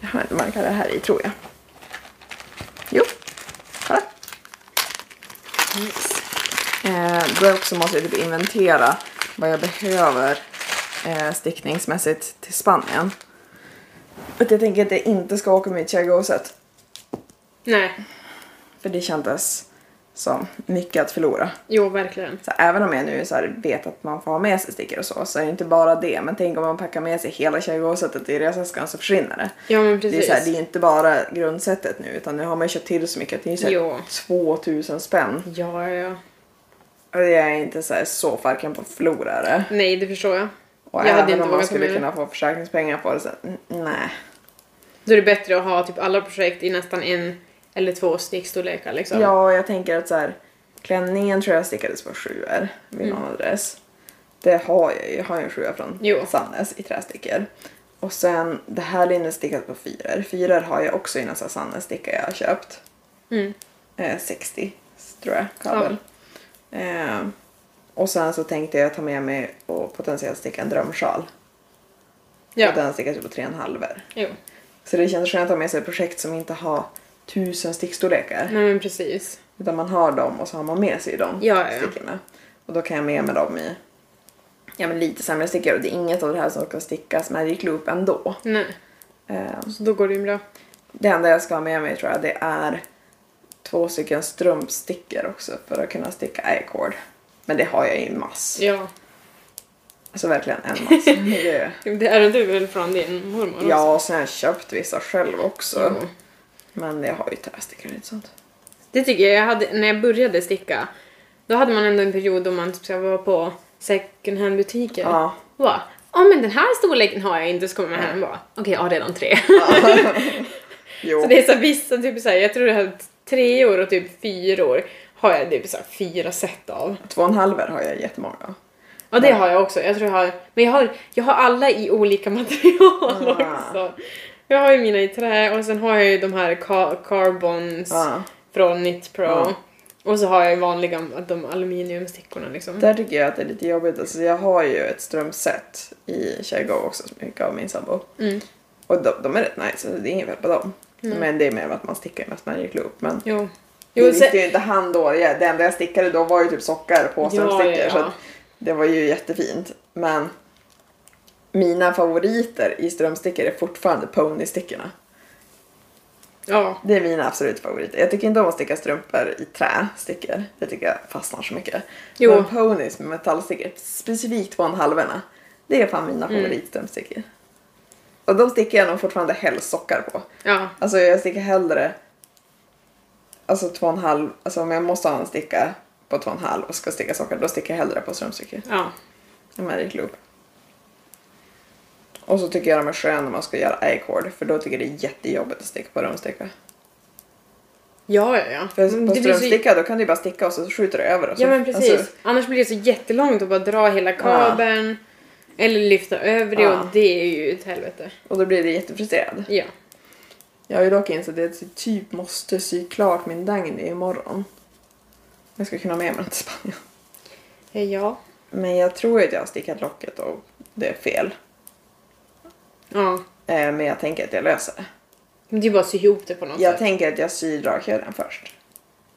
A: Jag har en markör här i tror jag. Jo, kolla. Yes. Eh, då också måste jag typ inventera vad jag behöver eh, stickningsmässigt till Spanien. Att jag tänker att jag inte ska åka med Chagoset.
B: Nej,
A: För det kändes som mycket att förlora.
B: jo verkligen.
A: Så även om jag nu så här vet att man får ha med sig stickor och så, så är det inte bara det. Men tänk om man packar med sig hela tjejgåsetet i resväskan så försvinner det.
B: Ja men
A: Det är,
B: precis.
A: så här, det är inte bara grundsättet nu, utan nu har man ju köpt till så mycket. att Det är ju så
B: Jo.
A: här 2000 spänn.
B: Ja, ja, ja.
A: Och jag är inte så, här, så farken på förlorare.
B: Nej, det förstår jag.
A: Och
B: jag hade
A: även
B: inte
A: om man
B: vågat ta
A: skulle
B: med det.
A: kunna få försäkringspengar på det så, mm, nej.
B: Då är det bättre att ha typ alla projekt i nästan en eller två stickstorlekar liksom.
A: Ja, och jag tänker att så här, klänningen tror jag stickades på sjuor vid
B: Mm.
A: någon adress. Det har jag ju. Jag har ju en sjua från
B: Jo.
A: Sannes i trästickor. Och sen det här linnet stickat på fyror. Fyror har jag också i nästa Sannes sticka jag har köpt.
B: Mm.
A: Eh, 60 tror jag, kabel. Eh, och sen så tänkte jag ta med mig och potentiellt sticka en drömsjal.
B: Ja.
A: Och den stickas ju på tre och en halver.
B: Jo.
A: Så det känns skönt att ha med sig projekt som inte har tusen stickstorlekar.
B: Nej men precis.
A: Utan man har dem och så har man med sig dem
B: Ja, ja, ja.
A: stickorna. Och då kan jag med mig dem i ja, men lite sämre stickor. Och det är inget av det här som ska stickas Magic Loop ändå.
B: Nej,
A: Eh,
B: så då går det ju bra.
A: det enda jag ska ha med mig tror jag det är två stycken strumpstickor också för att kunna sticka i-cord. Men det har jag i mass.
B: Ja.
A: Alltså verkligen en mass. Det-
B: Det är du väl från din mormor? också?
A: ja, och sen har jag köpt vissa själv också.
B: Jo.
A: Men jag har ju trästickor och lite sånt.
B: Det tycker jag. jag hade, när jag började sticka, då hade man ändå en period då man typ så här var på second hand-butiker.
A: Ja.
B: Och bara, ja men den här storleken har jag inte, så kommer man hem och bara, okej jag har redan tre.
A: Jo.
B: Så det är så här, vissa, typ så här, jag tror det här tre år och typ fyra år har jag typ så här, fyra set av.
A: Två och en halver har jag jättemånga av.
B: Ja det har jag också, jag tror jag har, men jag har, jag har alla i olika material
A: Ah.
B: också. Jag har ju mina i trä och sen har jag ju de här ca- carbons
A: Ja.
B: från Knit Pro.
A: Ja.
B: Och så har jag ju vanliga, de aluminiumstickorna liksom.
A: Där tycker jag att det är lite jobbigt. Alltså jag har ju ett strumpset i Kärgo också som jag fick av min sambo.
B: Mm.
A: Och de, de är rätt nice, alltså det är inget fel på dem. Men det är mer att man stickar ju mest Magic Loop. Men
B: Jo.
A: Mm. det
B: Mm. Jo,
A: visste
B: sen,
A: ju inte han då. Jag- Det enda jag stickade då var ju typ sockar på
B: Ja,
A: strumpstickor.
B: ja, ja.
A: Så att det var ju jättefint. Men, mina favoriter i strömstickor är fortfarande ponystickorna.
B: Ja.
A: Det är mina absoluta favoriter. Jag tycker inte om att sticka strumpor i trästickor. Det tycker jag fastnar så mycket.
B: Jo.
A: Men ponys med metallstickor, specifikt på en halvorna, det är fan mina favoritströmstickor. Och de stickar jag nog fortfarande helst sockar på.
B: Ja.
A: Alltså jag stickar hellre Alltså två och en halv, alltså om jag måste ha en sticka på två och en halv och ska sticka sockar, då stickar jag hellre på strömstickor.
B: Ja.
A: En magic loop. Och så tycker jag de är sköna när man ska göra i-cord, för då tycker jag det är jättejobbigt att sticka på rumsticka.
B: Ja, ja, ja.
A: För
B: Men
A: på
B: det blir så-
A: strömsticka då kan du ju bara sticka och så skjuter du över och så,
B: Ja men precis.
A: Alltså,
B: Annars blir det så jättelångt att bara dra hela kabeln. Eller lyfta över det
A: Ja.
B: och det är ju ett helvete.
A: och då blir det jättefrustrerad.
B: Ja.
A: Jag har ju dock insett att jag typ måste sy klart min Dagny imorgon. Jag ska kunna ha med mig den till Spanien.
B: Ja.
A: Men jag tror att jag har stickat locket och det är fel.
B: Ja.
A: Eh, men jag tänker att jag löser det.
B: Men det är bara att sy ihop det på något
A: Jag
B: sätt.
A: tänker att jag syr dragkedjan först.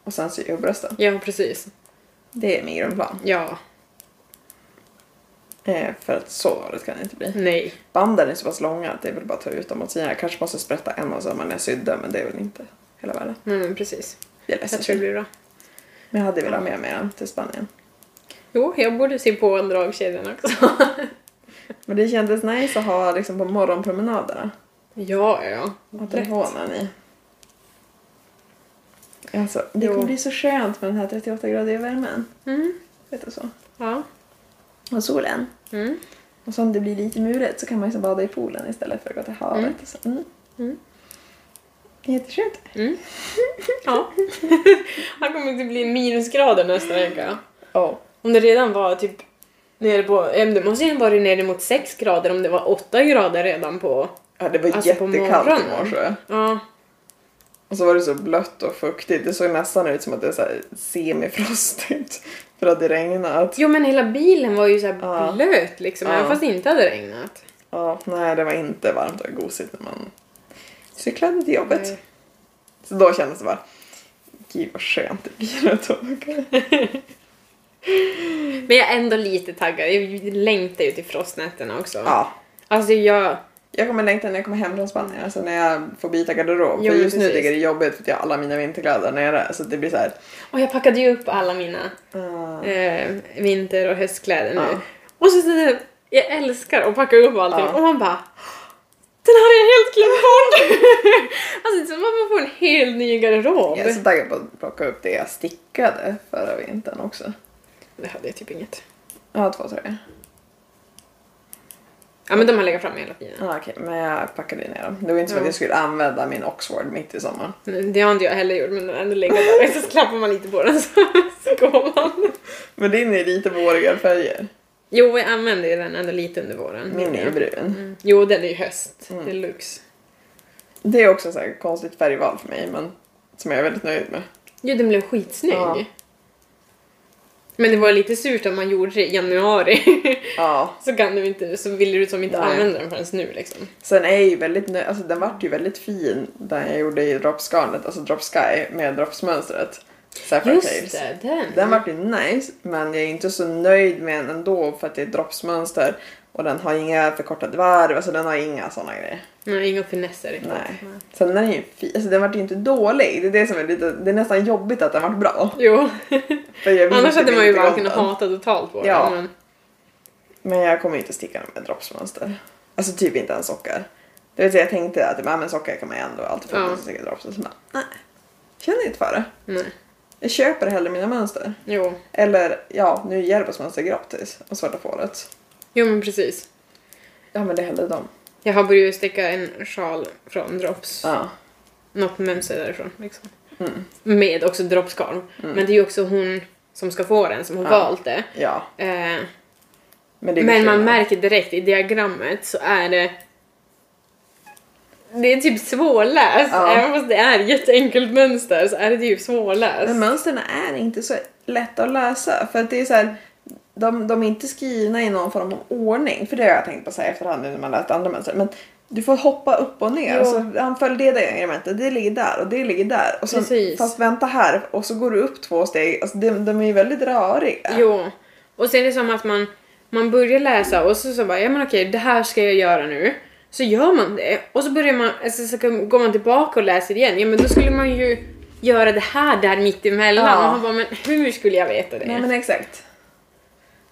A: Och sen syr jag brösten.
B: Ja, precis.
A: Det är min grundplan.
B: Ja.
A: Eh, för att så dåligt kan det inte bli.
B: Nej.
A: Banden är så pass långa att det är väl bara att ta ut dem och syna. Jag kanske måste sprätta en av sömmarna jag sydde men det är väl inte hela världen.
B: Nej men precis.
A: Det
B: Jag
A: löser
B: tror det
A: sig.
B: blir bra.
A: Men jag hade velat ha med mig den till Spanien.
B: Jo, jag borde sy på en dragkedjan också.
A: Men det kändes nice att ha liksom på morgonpromenaderna.
B: ja, ja.
A: Att den hånar ni. Alltså, det
B: Jo.
A: kommer bli så skönt med den här 38-gradiga värmen.
B: Mm.
A: Vet du så?
B: Ja.
A: Och solen.
B: Mm.
A: Och så om det blir lite mulet så kan man ju så bada i poolen istället för att gå till havet.
B: Mm.
A: Och så. Mm.
B: Mm.
A: Jätteskönt.
B: Ja. Här kommer det bli minusgrader nästa vecka.
A: Ja.
B: Om det redan var typ nere på... eh, Det måste ju ha varit nere mot 6 grader om det var 8 grader redan på...
A: Ja, det var
B: Alltså, på
A: jättekallt i
B: morgonen.
A: morse.
B: Ja.
A: Och så var det så blött och fuktigt. Det såg nästan ut som att det är så här semifrostigt. För att det regnat.
B: Jo men hela bilen var ju så här
A: Ja.
B: blöt liksom,
A: Ja.
B: även fast det inte hade regnat.
A: Ja, nej det var inte varmt och gosigt när man cyklade till jobbet.
B: Nej.
A: Så då kändes det bara, gud vad skönt det blir att åka.
B: Men jag är ändå lite taggad. Jag längtar ju till frostnätterna också.
A: Ja.
B: Alltså jag...
A: Jag kommer längta när jag kommer hem från Spanien, alltså när jag får byta garderob.
B: Jo,
A: för just nu
B: precis.
A: tycker jag det är jobbigt för att jag har alla mina vinterkläder nere. Så det blir så här,
B: Och jag packade ju upp alla mina
A: ah,
B: eh, vinter och höstkläder nu.
A: Ja.
B: Och så, så jag älskar att packa upp allting
A: Ja.
B: och man bara Den här har jag helt glömt bort! alltså så man får en helt ny garderob.
A: jag är så taggad på att plocka upp det jag stickade förra vintern också.
B: Det hade jag typ inget.
A: Jag har två tröjor.
B: Ja men de har legat framme hela tiden.
A: Ja, okej, men jag packade ner dem. Det var inte så att
B: Ah, Ja.
A: jag skulle använda min Oxford mitt i sommaren.
B: Det har inte jag heller gjort men den har ändå legat där och så klappar man lite på den så, så går man.
A: Men din är lite vårigare färger.
B: Jo jag använder ju den ändå lite under våren.
A: Min är ju brun.
B: Mm. Jo den är ju höst,
A: Mm.
B: deluxe.
A: Det är också så här konstigt färgval för mig, men som jag är väldigt nöjd med.
B: Jo den blev skitsnygg.
A: Ja.
B: Men det var lite surt att man gjorde det i januari.
A: Ja.
B: så kan du inte, så vill du som inte
A: Nej.
B: använda den förrän nu liksom.
A: Sen är jag ju väldigt nöjd, alltså den vart ju väldigt fin den jag gjorde i droppsgarnet, alltså drop sky med droppsmönstret. Sapphire
B: Just
A: Tales.
B: det, den!
A: Den vart ju nice, men jag är inte så nöjd med den ändå för att det är droppsmönster och den har inga förkortade varv, alltså den har inga sådana grejer.
B: Nej, Mm, inga finesser riktigt.
A: Nej. Sen är den ju fin, alltså den vart ju inte dålig. Det är det som är lite, det är nästan jobbigt att den vart bra.
B: Jo,
A: För jag minns
B: annars hade
A: typ
B: man ju
A: inte
B: bara
A: om
B: kunnat
A: den.
B: hata totalt på
A: Ja.
B: den. Men,
A: Men jag kommer ju inte sticka den med droppsmönster. Alltså typ inte ens sockar. Det vill säga jag tänkte att ja, men sockar kan man ju ändå alltid få
B: Ja.
A: ja. sticka drops. Och så bara, nej. Känner inte för det.
B: nej.
A: Jag köper hellre mina mönster.
B: Jo.
A: Eller ja, nu ger Jerbos mönster gratis och svarta fåret.
B: jo, men precis.
A: Ja men det är hellre dem.
B: Jag har börjat sticka en sjal från Drops.
A: Ja.
B: Något mönster därifrån liksom.
A: Mm.
B: Med också droppskarv. Men det är ju också hon som ska få den som har
A: Ja.
B: valt det.
A: ja.
B: Eh,
A: Men, det är ju
B: men man
A: skillnad.
B: märker direkt i diagrammet så är det det är typ svårläst,
A: Ja.
B: även fast det är jätteenkelt mönster så är det typ svårläst.
A: Men mönstren är inte så lätta att läsa för att det är så här, de, de är inte skrivna i någon form av ordning för det har jag tänkt på så här efterhand nu när man läst andra mönster. Men du får hoppa upp och ner.
B: Jo.
A: Och så, han följer det diagrammet, det ligger där och det ligger där. Och sen,
B: Precis.
A: fast vänta här och så går du upp två steg. Alltså, de, de är ju väldigt röriga.
B: Jo. Och sen är det som att man man börjar läsa och så, så bara, ja men okej det här ska jag göra nu. Så gör man det och så börjar man, alltså, så kan- går man tillbaka och läser igen. Ja men då skulle man ju göra det här där mittemellan.
A: Ja.
B: Och man bara, men hur skulle jag veta det?
A: Nej men exakt.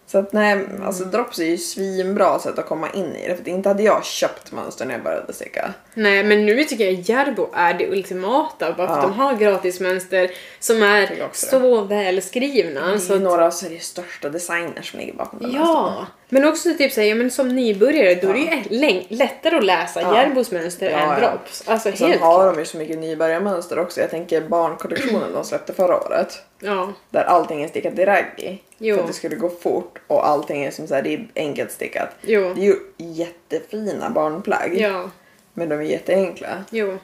A: Så att nej,
B: Mm.
A: alltså drops är ju svinbra sätt att komma in i det. För att inte hade jag köpt mönster när jag började sticka.
B: Nej men nu tycker jag Järbo är det ultimata bara för att
A: Ja.
B: de har gratismönster som är
A: Tycker också Mm. det.
B: så välskrivna.
A: Så det
B: Så
A: är
B: Alltså, att,
A: ju några av Sveriges största designers som ligger bakom de mönstren.
B: ja! Men också typ såhär, ja, men som nybörjare då är det ju
A: Ja.
B: läng- lättare att läsa
A: Ja.
B: Järbos mönster
A: Ja,
B: än
A: ja.
B: Drops. Alltså
A: Och Sen
B: helt
A: har
B: klart.
A: de ju så mycket nybörjarmönster också. Jag tänker barnkollektionen de släppte förra året.
B: Ja.
A: Där allting är stickat i raggi.
B: Jo.
A: För att det skulle gå fort och allting är som så här, det är enkelt stickat.
B: Jo.
A: Det är ju jättefina barnplagg.
B: Ja.
A: Men de är jätteenkla.
B: Jo.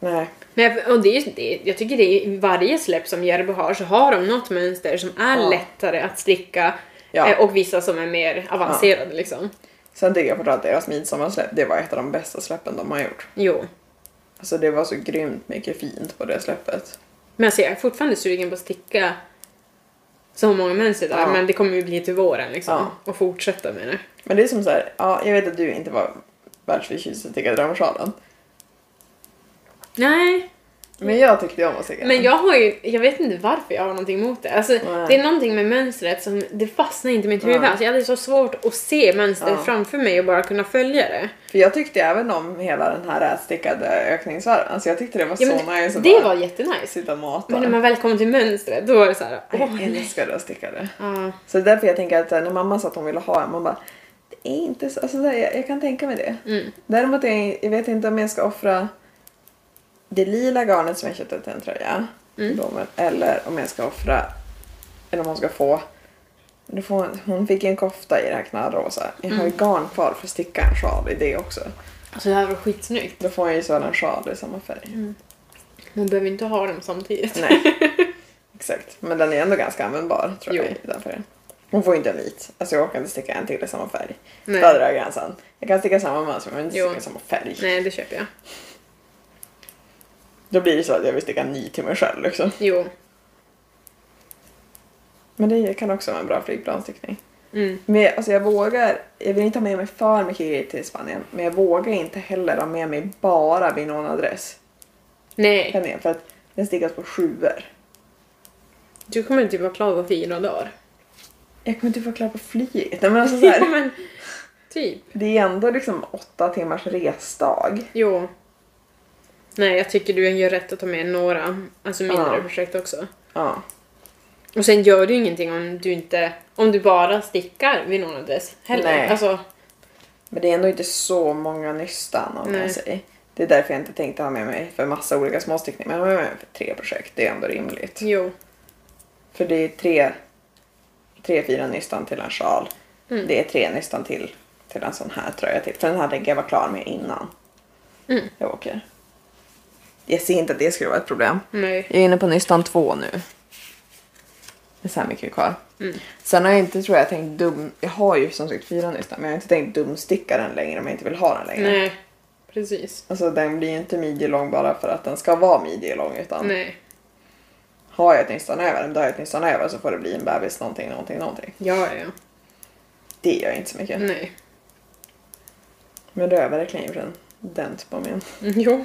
A: Nej.
B: Nej, och det är, det, är- jag tycker det är, i varje släpp som Järbo har så har de något mönster som är
A: Ja.
B: lättare att sticka
A: Ja.
B: eh, och vissa som är mer avancerade liksom.
A: Sen tycker jag framförallt deras midsommarsläpp, det var ett av de bästa släppen de har gjort.
B: Jo.
A: Alltså det var så grymt mycket fint på det släppet.
B: Men alltså, jag är fortfarande sugen på att sticka så många mönster där,
A: Ja.
B: men det kommer ju bli till våren liksom.
A: Ja.
B: Och fortsätta med det.
A: Men det är som så här, ja jag vet att du inte var världsförtjust i att sticka drömsjalen.
B: Nej,
A: Men jag tyckte om att sticka
B: Mm. men jag har ju, jag vet inte varför jag har någonting emot det. Alltså,
A: Nej.
B: det är någonting med mönstret som, det fastnar inte i mitt huvud.
A: Nej.
B: Alltså, jag hade så svårt att se mönstret
A: Ja.
B: framför mig och bara kunna följa det.
A: För jag tyckte även om hela den här rätstickade ökningsvarven. Alltså jag tyckte det var
B: Ja,
A: så
B: men
A: nice
B: det,
A: att
B: det
A: bara
B: var jättenice.
A: sitta och mata.
B: Men när man väl kom till mönstret, då var det såhär, åh
A: Jag
B: nej.
A: älskade att sticka det.
B: Ja,
A: Så det är därför jag tänker att eh, när mamma sa att hon ville ha en, man bara det är inte så, alltså där, jag, jag kan tänka mig det.
B: Mm.
A: Däremot jag, jag vet inte om jag ska offra det lila garnet som jag köpte till en tröja.
B: Mm.
A: Då, men, eller om jag ska offra, eller om hon ska få, då får, hon- hon fick ju en kofta i det här knallrosa. Jag
B: Mm.
A: har ju garn kvar för att sticka en sjal i det också.
B: alltså det här var skitsnyggt.
A: Då får jag ju sådan en sjal i samma färg.
B: Man behöver inte ha dem samtidigt.
A: Nej. Exakt. Men den är ändå ganska användbar tror
B: Jo.
A: jag. i den färgen. Hon får inte en vit. Alltså jag orkar inte sticka en till i samma färg.
B: Nej.
A: Där drar jag gränsen. Jag kan sticka samma mönster men inte
B: Jo.
A: sticka samma färg.
B: Nej, det köper jag.
A: Då blir det så att jag vill sticka en ny till mig själv liksom.
B: Jo.
A: Men det kan också vara en bra flygplansstickning.
B: Mm.
A: Men jag- alltså jag vågar, jag vill inte ha med mig för mycket grejer till Spanien. Men jag vågar inte heller ha med mig bara vid någon adress.
B: Nej.
A: Känner jag, För att den stickas på sjuor.
B: Du kommer typ vara klar på fyra dagar.
A: Jag kommer inte få klara på flyget. Nej, men alltså så här,
B: Ja, men typ.
A: det är ändå liksom åtta timmars resdag.
B: Jo. Nej, jag tycker du gör rätt att ta med några, alltså mindre
A: Ja.
B: projekt också.
A: Ja.
B: Och sen gör du ingenting om du inte, om du bara stickar vid någon adress heller.
A: Nej.
B: Alltså,
A: Men det är ändå inte så många nystan om
B: Nej.
A: jag säger. Det är därför jag inte tänkte ha med mig för massa olika småstickningar. Men jag har med mig för tre projekt, det är ändå rimligt.
B: jo.
A: För det är tre, tre fyra nystan till en sjal.
B: Mm.
A: Det är tre nystan till, till en sån här tröja till. För den här tänker jag vara klar med innan
B: Mm.
A: jag åker. Jag ser inte att det skulle vara ett problem.
B: Nej.
A: Jag är inne på nystan två nu. Det är så här mycket kvar.
B: Mm.
A: Sen har jag inte tror jag tänkt dum... Jag har ju som sagt fyra nystan men jag har inte tänkt dumsticka den längre om jag inte vill ha den längre.
B: Nej. Precis.
A: Alltså den blir ju inte midjelång bara för att den ska vara midjelång utan
B: Nej.
A: har jag ett nystan över, då har jag ett nystan över så får det bli en bebis någonting, någonting, någonting.
B: Ja, ja.
A: Det gör inte så mycket.
B: Nej.
A: Men det har jag verkligen gjort en dent på min.
B: Mm, Jo.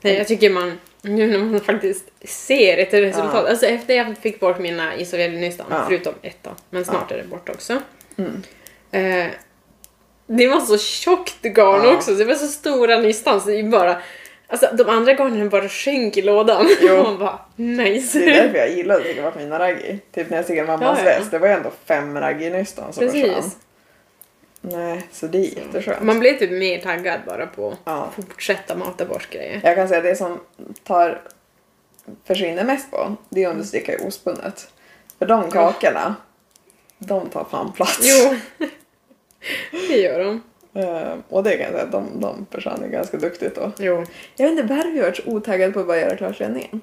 B: Nej, jag tycker man, nu när man faktiskt ser ett resultat,
A: Ja.
B: alltså efter jag fick bort mina i Sovjetunionen,
A: Ja.
B: förutom ett då, men snart är det bort också.
A: Mm.
B: Eh, det var så tjockt garn
A: Ja.
B: också, så det var så stora nystan så det är bara, alltså de andra garnen bara sjönk i lådan.
A: Jo.
B: Man bara, nice.
A: Det är därför jag gillade att sticka bort mina raggi. Typ när jag stickade mammas
B: Ja, ja.
A: väst, det var ju ändå fem raggi-nystan som försvann.
B: Precis.
A: Nej, så det är jätteskönt.
B: Man blev typ mer taggad bara på att
A: Ja.
B: fortsätta mata bort grejer.
A: Jag kan säga att det som tar, försvinner mest på, det är om du
B: Mm.
A: stickar ospunnet. För de kakorna, de tar fan plats.
B: Jo, det gör de.
A: Eh, och det kan jag säga, att de, de försvann ju ganska duktigt då.
B: Jo.
A: Jag vet inte varför jag har varit så otaggad på att bara göra klart klänningen.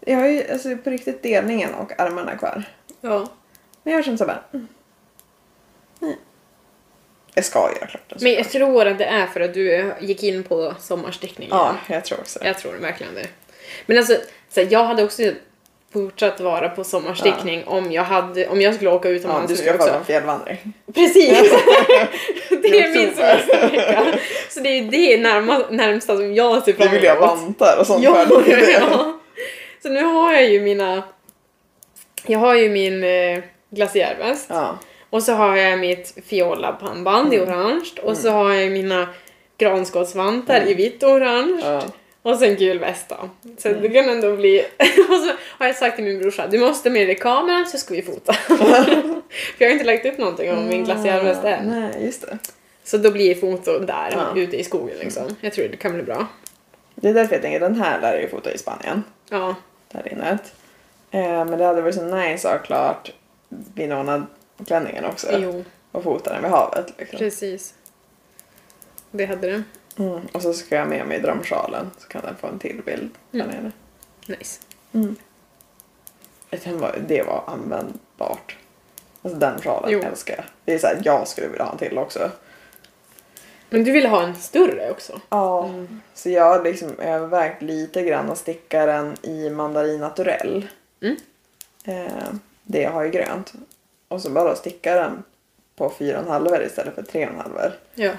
A: Jag har ju alltså, på riktigt delningen och armarna kvar.
B: Ja.
A: Men jag har känt såhär mm. Nej. Jag ska göra klart den.
B: Men jag tror att det är för att du gick in på sommarstickningen.
A: Ja, jag tror också det.
B: Jag tror verkligen det. Men alltså, så här, jag hade också fortsatt vara på sommarstickning om, jag hade, om jag skulle åka
A: Ja,
B: utomlands
A: du
B: nu
A: ska
B: också.
A: på en fjällvandring.
B: Precis! det är
A: I
B: min
A: oktober.
B: semestervecka. Så det är ju det närma, närmsta som jag ser fram
A: Det
B: emot.
A: vill jag vantar och sånt
B: Ja,
A: för.
B: ja. Så nu har jag ju mina... Jag har ju min eh, glaciärväst.
A: ja.
B: Och så har jag mitt fiolabandband i orange. Och så har jag mina granskottsvantar i vitt och orange.
A: Ja.
B: Och sen gul väst då. Så det kan ändå bli... och så har jag sagt till min brorsa, du måste med dig kameran så ska vi fota. För jag har inte lagt upp någonting om min
A: Mm.
B: glaciärväst än.
A: Nej, just det.
B: Så då blir foto där,
A: Ja.
B: ute i skogen liksom. Jag tror det kan bli bra.
A: Det är därför jag tänker den här lär jag ju fota i Spanien.
B: Ja.
A: Det här linnet. Eh, men det hade varit så nice att ha klart vinona-klänningen också.
B: Jo,
A: Och fota den vid havet. Liksom.
B: precis. Det hade det.
A: Mm. Och så ska jag med mig drömsjalen så kan den få en till bild där
B: Mm.
A: nere. Mm.
B: Nice.
A: Den var, det var användbart. Alltså den sjalen
B: Jo.
A: älskar jag. Det är såhär, jag skulle vilja ha en till också.
B: Men du ville ha en större också?
A: Ja.
B: Mm.
A: Så jag har liksom övervägt lite grann att sticka den i mandarin naturell.
B: Mm.
A: Eh, det jag har i grönt. Och så bara sticka den på 4,5 istället för 3,5.
B: Ja.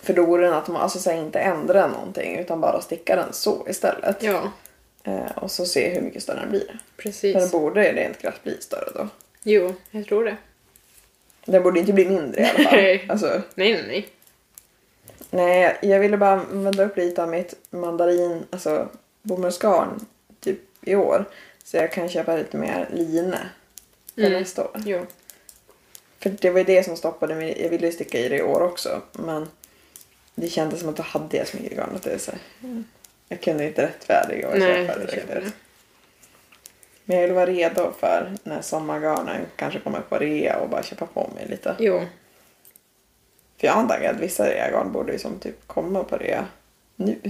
A: För då vore den att man alltså, så här, inte ändra någonting utan bara sticka den så istället.
B: Ja,
A: Eh, och så se hur mycket större den blir. För den
B: precis.
A: borde rent krasst bli större då.
B: Jo, jag tror det.
A: Den borde inte bli mindre i alla
B: Nej.
A: fall. Alltså,
B: Nej, nej, nej.
A: nej, jag ville bara vända upp lite av mitt mandarin, alltså bomullsgarn, typ i år. Så jag kan köpa lite mer line för
B: Mm.
A: nästa år.
B: Jo.
A: För det var ju det som stoppade mig. Jag ville ju sticka i det i år också. Men det kändes som att då hade jag så mycket garn att det är så här. mm. Jag kunde inte rättfärdiga och
B: Nej,
A: köpa det
B: jag
A: direkt.
B: köper det.
A: Men jag vill vara redo för när sommargarnen kanske kommer på rea och bara köpa på mig lite.
B: Jo.
A: För jag antar att vissa reagarn borde ju som typ komma på rea nu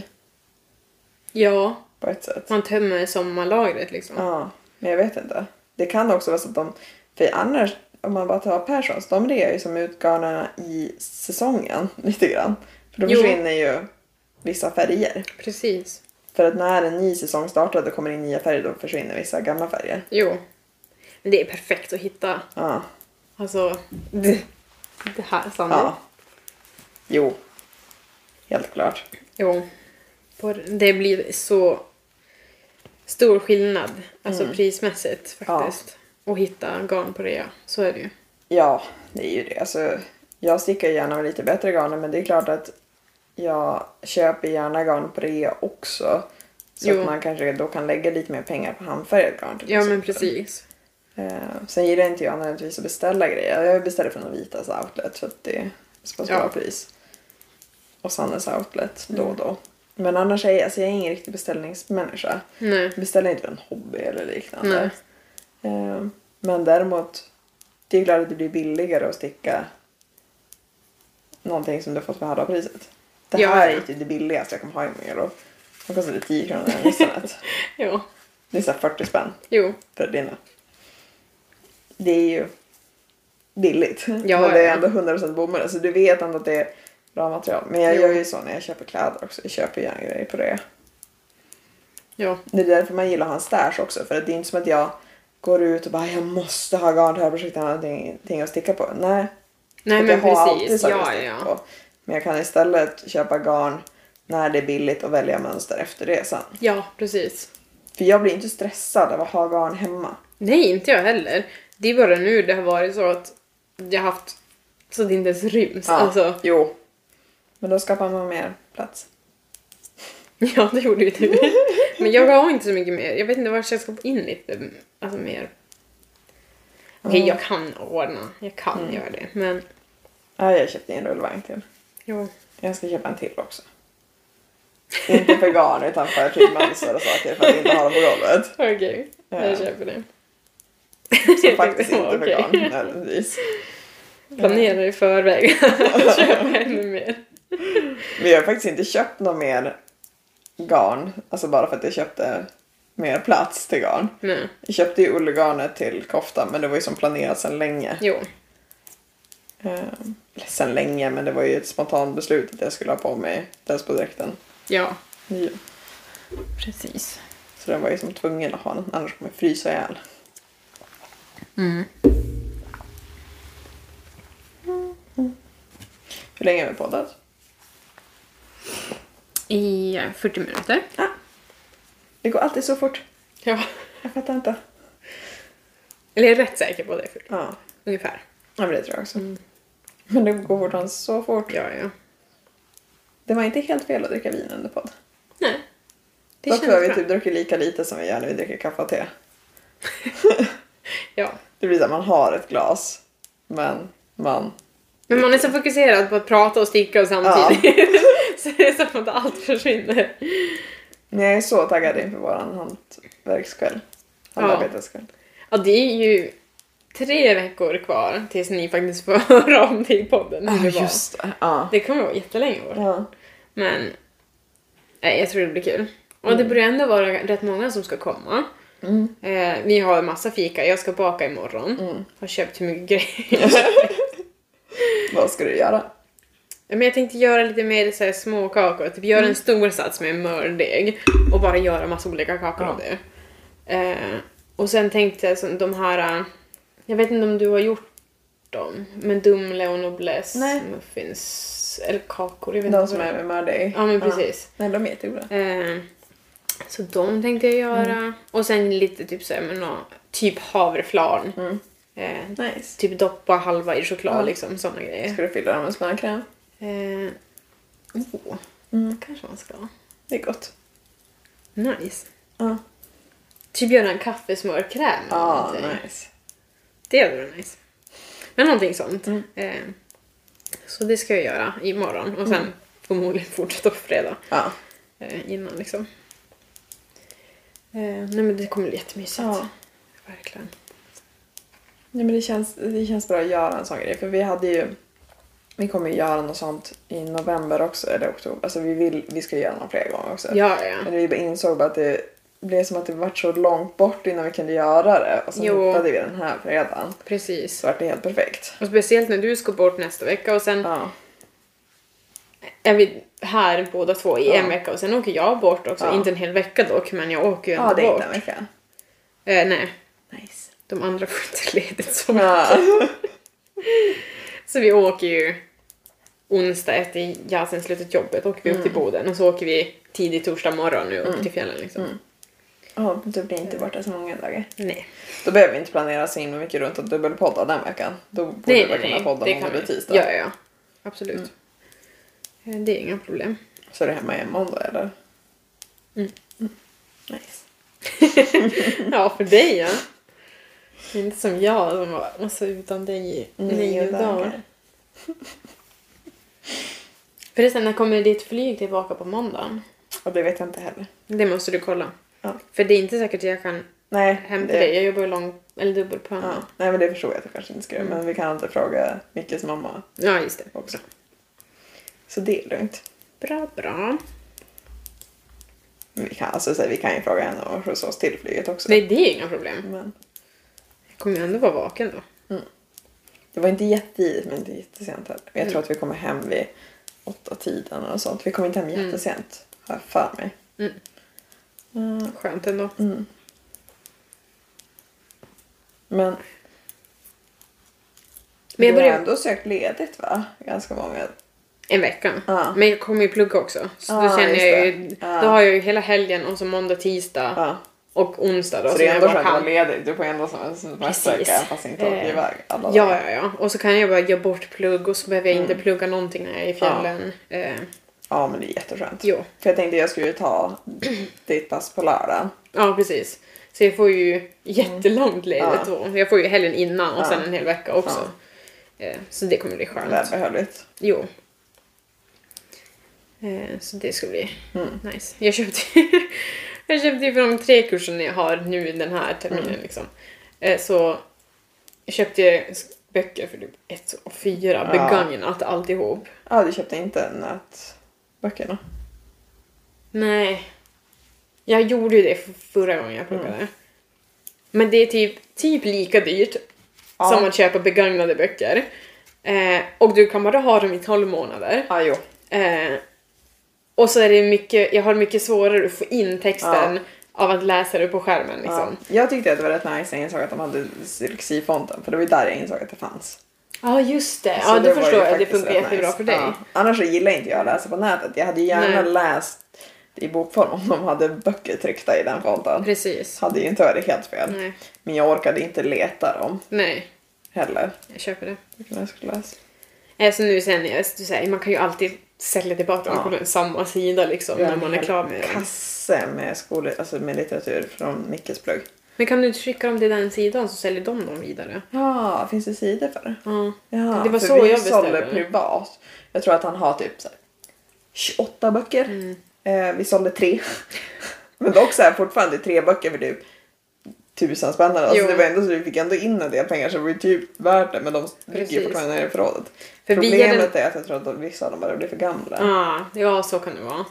B: Ja,
A: på ett sätt.
B: man tömmer sommarlagret liksom.
A: Ja, men jag vet inte. Det kan också vara så att de... För annars, om man bara tar Perssons, de rear ju som ut garnerna i säsongen lite grann. För då
B: Jo.
A: försvinner ju vissa färger.
B: Precis.
A: För att när en ny säsong startar och det kommer in nya färger då försvinner vissa gamla färger.
B: Jo. Men det är perfekt att hitta.
A: Ja.
B: Alltså, det, det här Sandy.
A: ja. Jo. Helt klart.
B: Jo. På- Det blir så stor skillnad, alltså
A: Mm.
B: prismässigt faktiskt. Att hitta garn på rea. Så är det ju.
A: Ja, det är ju det. Alltså, jag stickar gärna med lite bättre garn men det är klart att jag köper gärna garn på rea också. Så
B: Jo.
A: att man kanske då kan lägga lite mer pengar på handfärgat garn till
B: Ja men
A: exempel.
B: precis.
A: Eh, sen gillar inte jag nödvändigtvis att beställa grejer. Jag beställer från Novitas outlet för att det sparar
B: Ja. Mm.
A: bra pris. Och Sannes outlet då och då. Men annars är jag, alltså jag är ingen riktig beställningsmänniska.
B: Nej.
A: Jag beställer inte för en hobby eller liknande.
B: Nej.
A: Eh, men däremot, det är klart att det blir billigare att sticka någonting som du har fått för halva priset. Det
B: Ja.
A: här är ju typ det billigaste jag kommer ha i min då. Det kostade 10 kronor i internet.
B: Jo.
A: Det är såhär 40 spänn
B: Jo.
A: för dina. Det är ju billigt.
B: Ja,
A: men det
B: ja.
A: är ändå 100% bomull. Alltså du vet ändå att det är bra material. Men jag
B: Jo.
A: gör ju så när jag köper kläder också. Jag köper gärna grejer på det.
B: Jo.
A: Det är därför man gillar att ha en stash också. För att det är inte som att jag går ut och bara jag måste ha garn till det här projektet. Jag har någonting att sticka på. Nej.
B: Nej
A: För
B: men
A: att jag har alltid
B: precis.
A: saker att
B: Ja,
A: sticka
B: ja.
A: på. Men jag kan istället köpa garn när det är billigt och välja mönster efter det sen.
B: Ja, precis.
A: För jag blir inte stressad av att ha garn hemma.
B: Nej, inte jag heller. Det är bara nu det har varit så att jag har haft så det inte ens ryms. Alltså,
A: Jo. Men då skapar man mer plats.
B: ja, det gjorde ju du. Men jag har inte så mycket mer. Jag vet inte vart jag ska få in lite alltså, mer. Okej, jag kan ordna. Jag kan
A: Mm.
B: göra det. Men,
A: Ja, jag köpte en rullvagn till.
B: jo.
A: Jag ska köpa en till också. inte för garn utan för typ mönster och saker för att inte ha dem på golvet.
B: Okej,
A: Ja.
B: jag köper det.
A: Så faktiskt inte för
B: Okej.
A: garn nödvändigtvis.
B: Planera i förväg att köpa ännu mer.
A: Men jag har faktiskt inte köpt något mer garn. Alltså bara för att jag köpte mer plats till garn.
B: Nej,
A: Jag köpte ju ullgarnet till koftan men det var ju som planerat sedan länge.
B: jo.
A: Ehm, eller sedan länge men det var ju ett spontant beslut att jag skulle ha på mig dress på dräkten.
B: Ja,
A: Ja.
B: precis.
A: Så Så den var ju som tvungen att ha den, annars kommer jag frysa ihjäl. Hur länge har vi poddat?
B: I eh, 40 minuter.
A: Ah, det går alltid så fort.
B: Ja.
A: Jag fattar inte.
B: Eller jag är rätt säker på att det. är 40.
A: Ja,
B: Ungefär.
A: ja, men det tror jag också.
B: Mm.
A: Men det går fortfarande så fort.
B: Ja, ja.
A: Det var inte helt fel att dricka vin under podd.
B: Nej. Det
A: Dock har
B: känns
A: vi
B: bra.
A: typ druckit lika lite som vi gör när vi dricker kaffe och te.
B: Ja.
A: Det blir så att man har ett glas, men man...
B: Men man är så fokuserad på att prata och sticka och samtidigt. så det är som att allt försvinner.
A: Men jag är så taggad inför våran hantverkskväll. Handarbeteskväll.
B: Ja, det är ju tre veckor kvar tills ni faktiskt får höra om det i podden. hur det var.
A: det. Ja.
B: Det kommer vara jättelänge bort.
A: ja.
B: Men nej, jag tror det blir kul. Och det börjar ändå vara rätt många som ska komma.
A: Mm.
B: Eh, vi har massa fika, jag ska baka imorgon.
A: Mm.
B: Har köpt hur mycket grejer.
A: Vad ska du göra?
B: Men jag tänkte göra lite mer så här små kakor, typ
A: Mm.
B: göra en stor sats med mördeg och bara göra massa olika kakor av det. Eh, och sen tänkte jag så, de här, eh, jag vet inte om du har gjort dem, men Dumle och Noblesse
A: Nej.
B: muffins, eller kakor, jag vet
A: De
B: inte
A: som
B: vad det
A: är med dig.
B: Ja, men precis.
A: Nej, de är jättegoda.
B: Eh, så de tänkte jag göra.
A: Mm.
B: Och sen lite typ såhär med nå, typ havreflarn. Eh,
A: Mm. Nice.
B: typ doppa halva i choklad
A: Ja.
B: liksom, såna grejer.
A: Ska du fylla dem med smörkräm?
B: Eh, oh,
A: Mm.
B: kanske man ska.
A: Det är gott.
B: Nice.
A: Ja,
B: Typ göra en kaffesmörkräm eller
A: ah,
B: någonting.
A: nice.
B: Det hade varit nice. Men någonting sånt.
A: Mm.
B: Eh, så det ska jag göra imorgon
A: Mm.
B: och sen förmodligen fortsätta på fredag.
A: Ja.
B: eh, innan liksom. Eh, nej men det kommer bli jättemysigt.
A: Ja.
B: Verkligen.
A: Nej, men det, känns, det känns bra att göra en sån grej. För vi hade ju... Vi kommer ju göra något sånt i november också, eller oktober. Alltså vi, vill, vi ska göra några fler gånger också.
B: Ja, ja.
A: Men vi bara insåg bara att det blev som att det var så långt bort innan vi kunde göra det. Och sen
B: Jo.
A: hittade vi den här fredagen.
B: Precis.
A: Så vart det helt perfekt.
B: Och speciellt när du ska bort nästa vecka och sen
A: Ja.
B: är vi här båda två i
A: Ja.
B: en vecka och sen åker jag bort också.
A: Ja.
B: Inte en hel vecka dock, men jag åker ju ändå
A: Ja, det är
B: bort.
A: inte en vecka.
B: Eh, nej,
A: Nice.
B: de andra får inte ledigt så
A: Ja.
B: Så vi åker ju onsdag efter Jasen slutat jobbet, åker vi upp
A: Mm.
B: till Boden och så åker vi tidig torsdag morgon nu upp till fjällen liksom.
A: Mm. Ja, du blir inte borta så många dagar.
B: Nej.
A: Då behöver vi inte planera så himla mycket runt att dubbelpodda den veckan. Då borde
B: nej,
A: vi
B: nej,
A: väl kunna
B: nej.
A: podda
B: det
A: måndag
B: vi.
A: till tisdag. Mm.
B: Ja, ja, ja. Absolut. Eh, Det är inga problem.
A: Så är det hemma igen måndag eller? Mm. Nice.
B: Ja, för dig ja. Det är Inte som jag som var alltså, utan dig i nio dagar. Förresten, när kommer ditt flyg tillbaka på måndagen?
A: Och det vet jag inte heller.
B: Det måste du kolla.
A: Ja.
B: För det är inte säkert att jag kan
A: Nej,
B: hämta
A: det-
B: dig. Jag jobbar ju lång... Eller dubbelplan.
A: Ja. Nej men det förstår jag att jag kanske inte ska göra. Men vi kan alltid fråga Mickes mamma
B: ja, just det.
A: också. Så det är lugnt.
B: Bra, bra.
A: Men vi kan, alltså, så här, vi kan ju fråga henne och skjutsa oss till flyget också.
B: Nej, det är inga problem.
A: Men
B: Jag kommer ju ändå vara vaken då.
A: det var inte jättetidigt men inte jättesent heller. Jag
B: Mm.
A: tror att vi kommer hem vid åtta tiden och sånt. Vi kommer inte hem jättesent har jag för mig.
B: Mm.
A: Mm.
B: Skönt ändå.
A: Mm. Men du
B: Men jag
A: har
B: börjar
A: ändå sökt ledigt va? Ganska många.
B: en vecka.
A: Ja.
B: Men jag kommer ju plugga också. Så då
A: Ja,
B: känner
A: just
B: jag ju...
A: det. Ja.
B: Då har jag ju hela helgen och så måndag, tisdag
A: Ja.
B: och onsdag då.
A: Så det är
B: jag
A: ändå
B: bara
A: skönt att
B: kan.
A: vara ledig. Du får ändå som en semestersöka
B: Precis.
A: fast inte åka
B: Eh,
A: iväg alla
B: Ja, ja, ja. Och så kan jag bara ge bort plugg och så behöver jag inte plugga någonting när jag är
A: Mm.
B: i
A: Ja.
B: fjällen. Eh,
A: Ja, men det är jätteskönt.
B: Jo.
A: För jag tänkte jag skulle ju ta ditt pass på lördagen.
B: ja, precis. Så jag får ju jättelångt ledigt då. Jag får ju helgen innan och
A: Mm. Ja.
B: sen en hel vecka också. Eh, så det kommer bli skönt.
A: Välbehövligt.
B: Jo. Eh, så det ska bli
A: Mm.
B: nice. Jag köpte, jag köpte ju för de tre kurserna jag har nu den här terminen
A: Mm.
B: liksom. Eh, så köpte jag s- böcker för typ ett och fyra,
A: Ja.
B: begagnat alltihop.
A: Ja, du köpte inte nätböckerna.
B: Nej. Jag gjorde ju det för- förra gången jag pluggade.
A: Mm.
B: Men det är typ, typ lika dyrt
A: Ja.
B: som att köpa begagnade böcker. Eh, och du kan bara ha dem i 12 månader.
A: Ja, jo.
B: Eh, och så är det mycket, jag har mycket svårare att få in texten av att läsa det på skärmen liksom.
A: Ja. Jag tyckte att det var rätt nice när jag insåg att de hade dyslexifonten för det var ju där jag insåg att det fanns.
B: Ja, just det.
A: Så
B: Ja,
A: det
B: då
A: var
B: förstår
A: ju
B: jag. Det
A: faktiskt
B: funkar
A: rätt
B: jättebra
A: nice.
B: för dig.
A: Ja. Annars så gillar inte jag att läsa på nätet. Jag hade ju gärna
B: Nej.
A: läst i bokform om de hade böcker tryckta i den fonten.
B: Precis.
A: Hade ju inte varit helt fel.
B: Nej.
A: Men jag orkade inte leta dem
B: Nej,
A: heller.
B: jag köper det.
A: Vilken jag skulle läsa.
B: Eh, Så nu sen, jag- du säger, man kan ju alltid sälja tillbaka och
A: Ja.
B: kolla samma sida liksom när man är klar med den.
A: kasse med, skol, alltså med litteratur från Nickes plugg.
B: Men kan du inte skicka dem till den sidan så säljer de dem vidare?
A: Ja, finns det sidor för det?
B: Ja.
A: Ja,
B: Det var
A: för
B: så
A: vi
B: jag
A: sålde
B: beställde.
A: privat. Jag tror att han har typ så här 28 böcker.
B: Mm.
A: Eh, vi sålde tre. Men dock så här, fortfarande tre böcker för typ tusen spänn. Alltså
B: Jo.
A: det var ändå så vi fick ändå in en del pengar så det var ju typ värt det men de ligger ju
B: Precis.
A: fortfarande nere i förrådet.
B: För vi
A: Problemet
B: hade-
A: är att jag tror att de- vissa av dem bara blir för gamla.
B: Ja, ja, så kan det vara.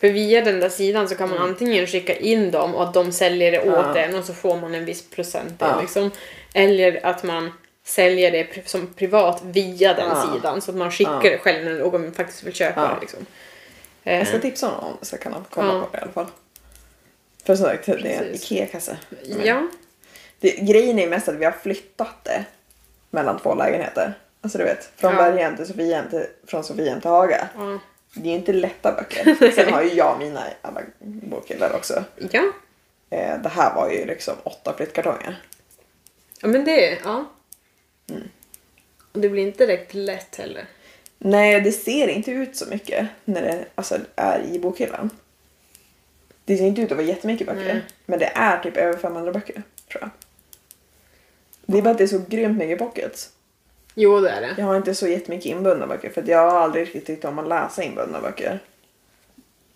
B: För via den där sidan så kan man antingen skicka in dem och att de säljer det åt
A: Mm. Ja.
B: en och så får man en viss procent
A: Ja.
B: där liksom. Eller att man säljer det pri- som privat via den
A: Ja.
B: sidan så att man skickar
A: Ja.
B: det själv när någon faktiskt vill köpa
A: Ja. Mm.
B: det liksom. Eh,
A: Jag ska tipsa honom om det så kan han kolla
B: Ja.
A: på det i alla fall. För som sagt, det är en
B: Precis.
A: IKEA-kasse.
B: ja,
A: Det, grejen är mest att vi har flyttat det mellan två lägenheter. Alltså du vet, från
B: Ja.
A: Berghem till Sofiehem till, från Sofiehem till Haga.
B: ja,
A: Det är inte lätta böcker. Sen har ju jag mina i alla bokhyllar också.
B: ja.
A: Eh, det här var ju liksom åtta flyttkartonger.
B: Ja men det, ja.
A: Mm.
B: Och det blir inte direkt lätt heller.
A: Nej, det ser inte ut så mycket när det alltså, är i bokhyllan. Det ser inte ut att vara jättemycket böcker.
B: Nej.
A: Men det är typ över 500 böcker, tror jag. Det är bara att det är så grymt mycket pockets.
B: Jo det är det.
A: Jag har inte så jättemycket inbundna böcker för att jag har aldrig riktigt tyckt om att läsa inbundna böcker.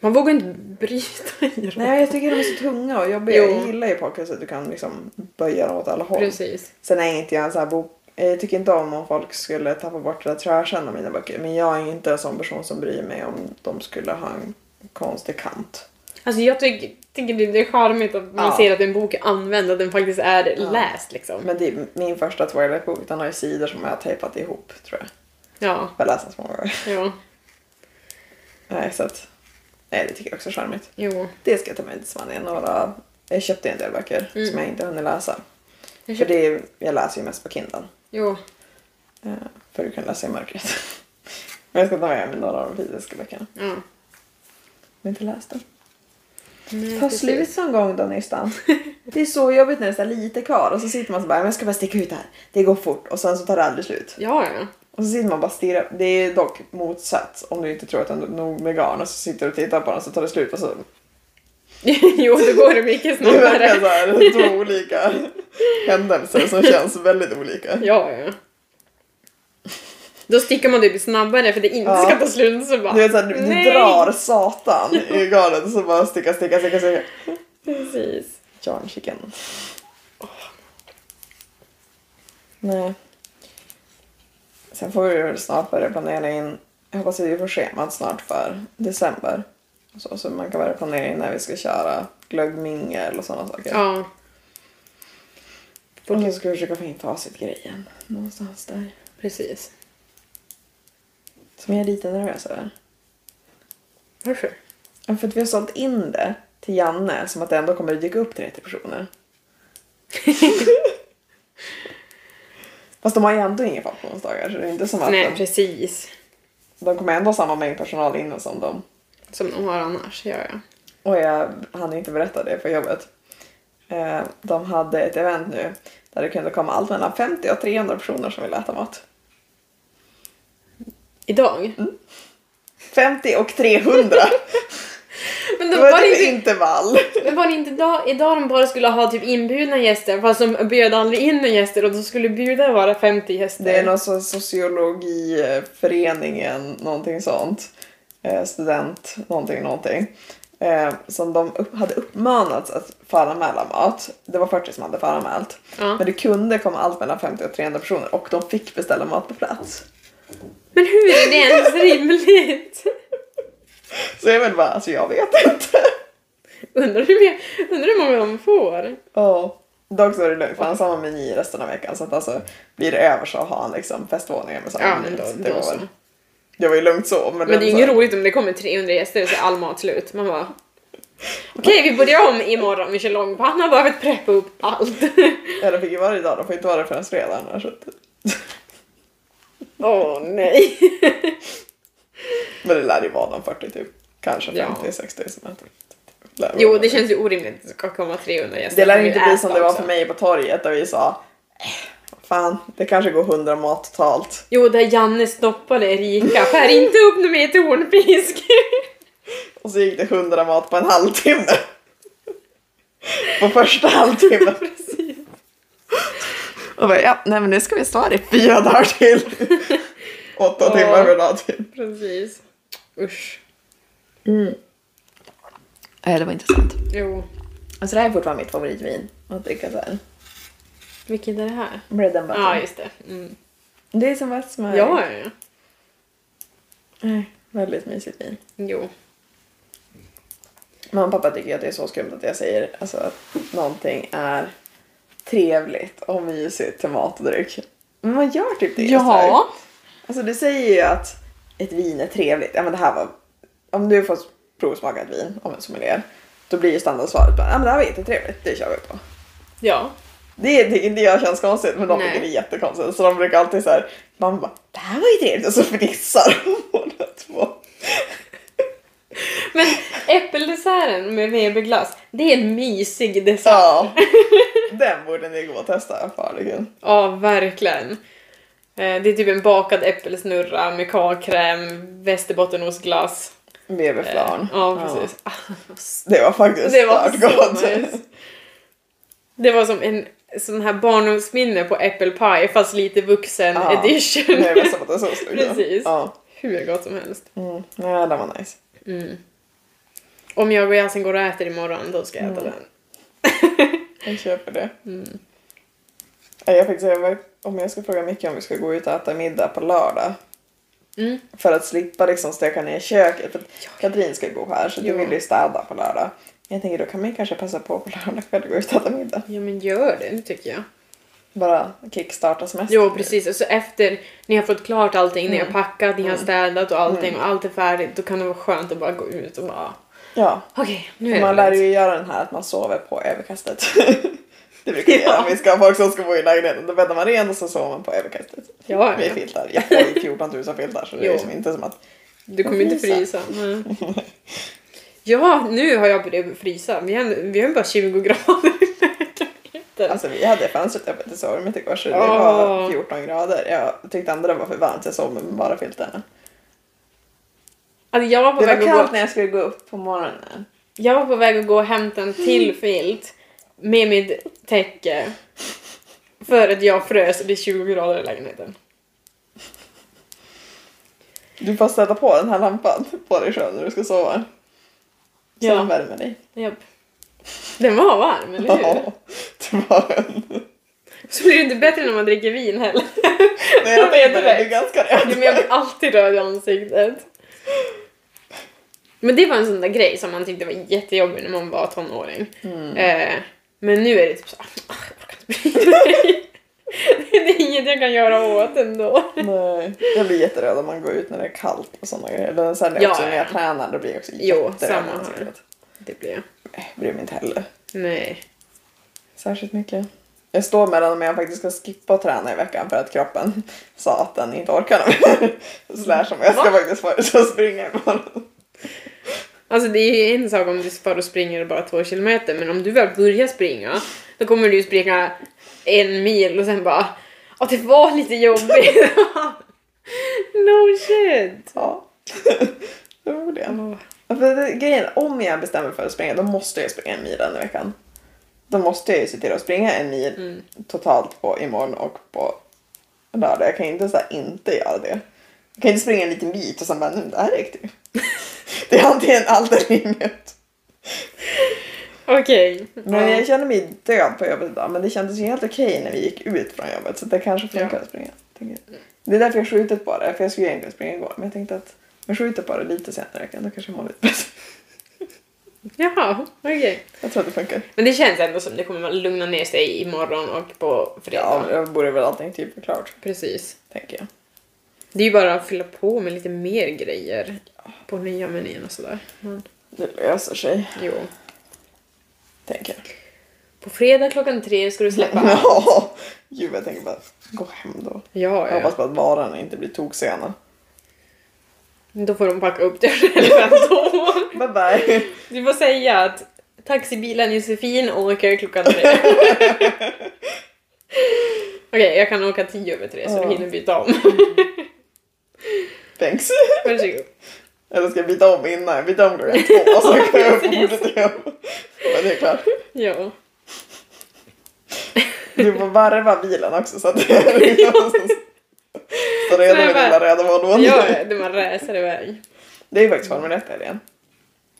B: Man vågar inte bryta i dem.
A: Nej, jag tycker de är så tunga och jobbiga.
B: Jo.
A: Jag gillar ju pockets att du kan liksom böja dem åt alla håll.
B: Precis.
A: Sen är inte jag en sån här bok... eh, Jag tycker inte om om folk skulle tappa bort eller trashen av mina böcker. Men jag är inte en sån person som bryr mig om de skulle ha en konstig kant.
B: Alltså jag tycker, tycker det det är charmigt att man
A: Ja.
B: ser att en bok är använd, att den faktiskt är läst liksom.
A: Men det är min första Twilight-bok. Den har ju sidor som jag har tejpat ihop tror jag.
B: Ja,
A: Jag har läst den så många gånger.
B: jo,
A: Nej, så att... Nej, det tycker jag också är charmigt.
B: jo.
A: Det ska jag ta med till Spanien. Några... Jag köpte en del böcker som jag inte hunnit läsa.
B: Jag
A: För
B: köper,
A: det är, jag läser ju mest på Kindle.
B: jo.
A: Eh, För du kan läsa i mörkret. Men jag ska ta med mig några av de fysiska böckerna.
B: Ja.
A: Men inte läst dem.
B: Nej,
A: Ta
B: Mm, precis.
A: slut någon gång då nystan. Det är så jobbigt när det är så här lite kvar och så sitter man så bara, "Men jag ska bara sticka ut här. Det går fort och sen så tar det aldrig slut.
B: Ja, ja.
A: Och så sitter man och bara och stirrar. Det är dock motsatt om du inte tror att det är nog med garn och så sitter du och tittar på den så tar det slut och så.
B: jo, då går det mycket
A: Det är verkligen
B: snabbare.
A: så här två olika händelser som känns väldigt olika.
B: Ja, ja. Då sticker man typ snabbare för det inte
A: Ja.
B: ska ta slut så bara...
A: Du vet såhär, du, du
B: nej.
A: drar satan i garnet och så bara sticka, sticka, sticka, sticka.
B: Precis.
A: John Chicken. Nej. Sen får vi väl snart börja planera in. Jag hoppas att vi får schemat snart för december. Så, så man kan börja planera in när vi ska köra glöggmingel och sådana saker.
B: Ja.
A: Och så ska vi försöka få in facitgrejen någonstans där.
B: Precis.
A: Som jag är lite nervös över.
B: Varför?
A: Ja, För att vi har sålt in det till Janne som att det ändå kommer att dyka upp 30 personer. Fast de har ju ändå inga folk på onsdagar så det är inte som att
B: Nej,
A: de-
B: precis.
A: De kommer ändå ha samma mängd personal inne som dem.
B: Som de har annars, ja, ja.
A: Och jag hann inte berätta det för jobbet. Eh, De hade ett event nu där det kunde komma allt mellan 50 och 300 personer som ville äta mat.
B: Idag?
A: Mm. 50 och 300!
B: Men
A: Det
B: då
A: var typ
B: var
A: ett
B: det inte,
A: intervall.
B: men var det inte idag, idag de bara skulle ha typ inbjudna gäster fast de bjöd aldrig in några gäster och de skulle bjuda bara 50 gäster?
A: Det är någon sorts sociologiföreningen, någonting sånt. Eh, Student, någonting, någonting. Eh, Som de upp, hade uppmanats att föranmäla mat. Det var 40 som hade föranmält.
B: Ja.
A: Men det kunde komma allt mellan 50 och 300 personer och de fick beställa mat på plats.
B: Men hur är det ens rimligt?
A: Så jag vill bara, alltså jag vet inte.
B: Undrar hur, mycket- undrar hur många de får?
A: Ja. Dock så är det lugnt för han har samma meny resten av veckan så att alltså blir det över så har han liksom festvåningar med samma
B: Ja,
A: meny.
B: men då,
A: Så det,
B: då
A: var
B: så.
A: väl, det var ju lugnt så. Men,
B: Men det är ju
A: så-
B: inget roligt om det kommer 300 gäster och så är all mat slut. Man bara, Okej, vi börjar om imorgon. Vi kör långpanna. Behöver preppa upp allt.
A: Ja, de fick ju vara idag, de får inte vara det förrän fredag annars.
B: Åh oh, nej.
A: Men det lär ju vara de 40 typ. Kanske
B: Ja.
A: 50, 60 som äter. Lär vara
B: Jo, det känns ju orimligt att det ska komma 300 gäster.
A: Det lär ju
B: Vi
A: inte bli
B: äter
A: som det var
B: också.
A: för mig på torget där vi sa "Eh, Fan, det kanske går 100 mat totalt.
B: Jo, där Janne stoppade Erika. Skär inte upp nu med tornfisk.
A: Och så gick det 100 mat på en halvtimme. På första halvtimmen.
B: Precis.
A: Och bara, ja, nej men nu ska vi stå här i fyra dagar till. Åtta
B: Ja.
A: timmar per dag till.
B: Precis. Usch.
A: Mm. Nej, det var intressant.
B: Jo.
A: Alltså det här är fortfarande mitt favoritvin att dricka såhär.
B: Vilket är det här?
A: Bread and
B: Ja,
A: butter.
B: just det. Mm.
A: det är som ett smör.
B: Ja, ja, ja.
A: Nej, Väldigt mysigt vin.
B: Jo.
A: Mamma och pappa tycker att det är så skumt att jag säger alltså, att någonting är trevligt och mysigt till mat och dryck. Men man gör typ det. så här. Alltså du säger ju att ett vin är trevligt. Ja, men det här var, om du får provsmaka ett vin om en sommelier. Då blir ju standardsvaret bara, ja men det här var jättetrevligt, det kör vi på.
B: Ja.
A: Det tycker inte jag känns konstigt men de
B: Nej.
A: tycker det är jättekonstigt. Så de brukar alltid såhär, mamma bara, det här var ju trevligt och så fnissar de båda två.
B: Men äppeldesserten med vebeglass, det är en mysig dessert.
A: Ja, den borde ni gå och testa förligen.
B: Ja, verkligen. Eh, Det är typ en bakad äppelsnurra med kakkräm, västerbottenostglass.
A: Leverflarn.
B: Eh, Ja, precis. Ah,
A: Ja. Det var faktiskt
B: Det var
A: stört
B: så nice. Det var som en sån här barndomsminne på äppelpaj fast lite vuxen
A: Ja.
B: edition.
A: Nej, men som att det är så stort.
B: Precis.
A: Ja.
B: Hur gott som helst.
A: Mm. ja, det var nice.
B: Om jag och Yasin går och äter imorgon, då ska jag
A: Mm.
B: äta den.
A: Jag köper det.
B: Mm.
A: Nej, Jag fick säga, om jag ska fråga Micke om vi ska gå ut och äta middag på lördag.
B: Mm.
A: För att slippa liksom steka ner köket. För att Katrin ska gå här så du
B: Ja.
A: vill ju städa på lördag. Men jag tänker då kan man ju kanske passa på på lördag kväll och gå ut och äta middag.
B: Ja men gör det, det tycker jag.
A: Bara kickstarta semestern.
B: Jo precis, och så efter ni har fått klart allting, ni
A: Mm.
B: har packat, ni har städat och allting och allt är färdigt, då kan det vara skönt att bara gå ut och bara
A: Ja.
B: okej, nu
A: Man
B: är det
A: lär
B: lugnt."
A: ju göra den här att man sover på överkastet. det brukar vi
B: Ja.
A: göra om vi ska ha folk som ska bo i lägenheten. Då bäddar man rent och så sover man på överkastet.
B: Ja,
A: Med
B: ja.
A: filtar. Jag har ju 14 000 filtar så det är
B: Jo.
A: liksom inte som att...
B: Du kommer inte
A: frysa.
B: frysa. nej. Ja, nu har jag börjat frysa. Vi har, vi har bara 20 grader i lägenheten.
A: Alltså vi hade fönstret öppet i sovrummet igår så det
B: Åh.
A: var 14 grader. Jag tyckte andra var för varmt så jag sov med bara filtarna.
B: Alltså, jag var på
A: Det
B: väg
A: var
B: att gå...
A: kallt när jag skulle gå upp på morgonen.
B: Jag var på väg att gå och hämta en till filt med mitt täcke för att jag frös och det är 20 grader i lägenheten.
A: Du får sätta på den här lampan på dig själv när du ska sova. Så
B: Ja.
A: den värmer dig.
B: Japp. Den var varm, eller hur?
A: Ja, det var den.
B: Så blir det inte bättre när man dricker vin heller.
A: Nej, jag
B: Jag vet
A: tänkte det. Du är
B: direkt.
A: ganska
B: Jo,
A: rädd.
B: Men jag blir alltid röd i ansiktet. Men det var en sån där grej som man tyckte var jättejobbig när man var tonåring. Eh, men nu är det typ såhär, "Ah, jag orkar inte bry mig. Det är inget jag kan göra åt ändå.
A: Nej, jag blir jätteröd om man går ut när det är kallt och sådana grejer. Eller sen
B: Ja,
A: också när jag
B: ja.
A: tränar, då blir jag också
B: Jo,
A: jätteröd.
B: samma
A: i
B: här.
A: ansiktet.
B: Det blir jag.
A: Nej, bryr mig inte heller
B: Nej.
A: särskilt mycket. Jag står mellan om jag faktiskt ska skippa att träna i veckan för att kroppen sa att den inte orkar mer. Slash om jag ska
B: Va?
A: faktiskt få ut och springa imorgon.
B: Alltså det är ju en sak om du bara och springer bara två kilometer, men om du väl börjar springa, då kommer du ju springa en mil och sen bara, åh det var lite jobbigt. no shit.
A: Ja, det var väl det.
B: Åh.
A: Ja, För det, grejen, är, om jag bestämmer för att springa då måste jag springa en mil den veckan. Då måste jag ju se till att springa en mil
B: Mm.
A: totalt på imorgon och på lördag. Jag kan ju inte så här, inte göra det. Jag kan inte springa en liten bit och sen bara, nu det här räckte ju. det är antingen allt eller inget.
B: Okej.
A: Men
B: Ja.
A: jag kände mig död på jobbet idag men det kändes ju helt okej när vi gick ut från jobbet så det kanske funkar
B: Ja.
A: att springa. tänker jag. Det är därför jag skjutit på det, för jag skulle egentligen springa igår men jag tänkte att jag skjuter på det lite senare i veckan, då kanske jag mår lite bättre.
B: Jaha, okej.
A: Jag tror att det funkar.
B: Men det känns ändå som det kommer lugna ner sig imorgon och på fredag.
A: Ja, då borde väl allting typ vara klart,
B: Precis.
A: tänker jag.
B: Det är ju bara att fylla på med lite mer grejer på nya menyn och sådär. Men...
A: Det löser sig,
B: Jo.
A: tänker jag.
B: På fredag klockan tre ska du släppa.
A: Ja, gud jag tänker bara gå hem då.
B: Ja,
A: Jag hoppas
B: ja.
A: på att varorna inte blir toksena.
B: Då får de packa upp det själva ändå.
A: Bye bye!
B: Du får säga att taxibilen Josefin åker klockan tre. Okej, jag kan åka tio över tre så
A: Ja.
B: du hinner byta om.
A: Thanks!
B: Varsågod.
A: Eller ska jag byta om innan? Jag byter om klockan två och så kan jag upp på bordet igen. Men det är klart.
B: Ja.
A: Du får varva bilen också så att det är liksom så- så redo
B: Så jag
A: med
B: bara-
A: lilla röda Volvon.
B: ja, det man räser iväg.
A: Det är ju faktiskt Formel 1 helgen.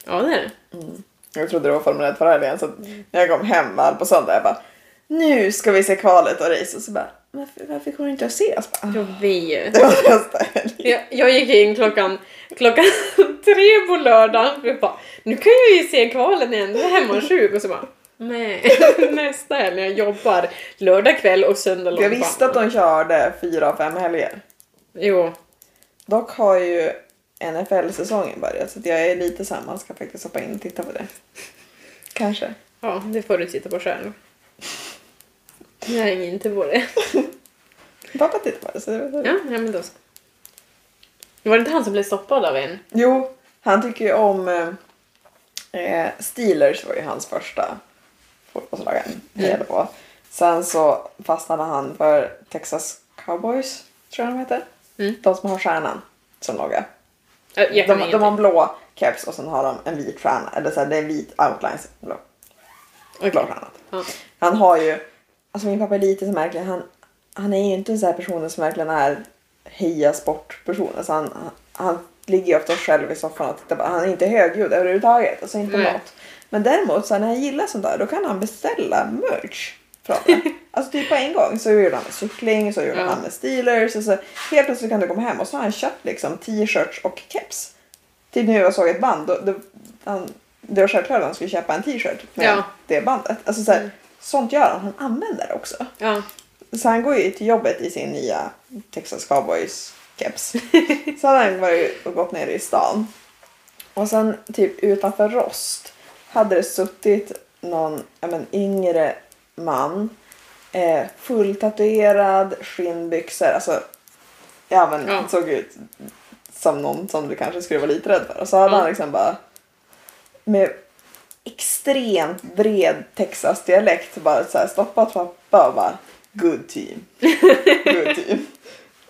B: Ja, det är det.
A: Mm. Jag trodde det var Formel 1 förra helgen så att när jag kom hem här på söndag jag bara nu ska vi se kvalet och race och så bara varför, varför går det inte att ses? Bara, "Ah,
B: Jag vet.
A: Det var nästa helg.
B: Jag, jag gick in klockan, klockan tre på lördagen för jag bara, nu kan jag ju se kvalen igen, nu är jag hemma sjuk och så bara nej, nästa helg jag jobbar lördag kväll och söndag
A: Jag visste att de körde fyra av fem helger.
B: Jo,
A: Dock har ju NFL-säsongen börjat så att jag är lite såhär man ska faktiskt hoppa in och titta på det. Kanske.
B: ja det får du titta på själv. Jag hänger inte på det.
A: Pappa tittar på det så det var
B: Ja, ja men då så. Var det inte han som blev stoppad av en?
A: Jo, han tycker ju om... eh, Eh, Steelers var ju hans första fotbollslag han hejade på. Sen så fastnade han för Texas Cowboys, tror jag de heter.
B: Mm.
A: De som har stjärnan som logga.
B: Äh, Jag kan
A: De,
B: ingenting.
A: de har en blå keps och sen har de en vit stjärna. Eller så här, det är en vit outline. Blå,
B: Okej.
A: blå stjärna.
B: Ja.
A: Han har ju... Alltså min pappa är lite så märklig. Han, han är ju inte en sån här person som verkligen är heja sportperson. Alltså han, han, han ligger ju ofta själv i soffan och tittar på. Han är inte högljudd överhuvudtaget. Alltså inte på
B: Nej.
A: något. Men däremot så här, när han gillar sånt där då kan han beställa merch från det. Alltså typ på en gång så gjorde han med cykling, så gjorde
B: Ja.
A: han med Steelers. Och så helt plötsligt kan du komma hem och så har han köpt liksom t-shirts och keps. Typ när jag såg ett band, då, då, han, det var självklart att han skulle köpa en t-shirt med
B: Ja. Mm.
A: det bandet. Alltså så här, Sånt gör han, han använder det också.
B: ja.
A: Så han går ju till jobbet i sin nya Texas Cowboys keps. så hade han varit och gått ner i stan. Och sen typ utanför Rost hade det suttit någon ja, men, yngre man. Eh, fulltatuerad, skinnbyxor. Alltså, ja men
B: Ja.
A: såg ut som någon som du kanske skulle vara lite rädd för. Och så hade
B: Ja.
A: han liksom bara med extremt bred Texas-dialekt bara så här stoppat pappa och bara good team. Good team.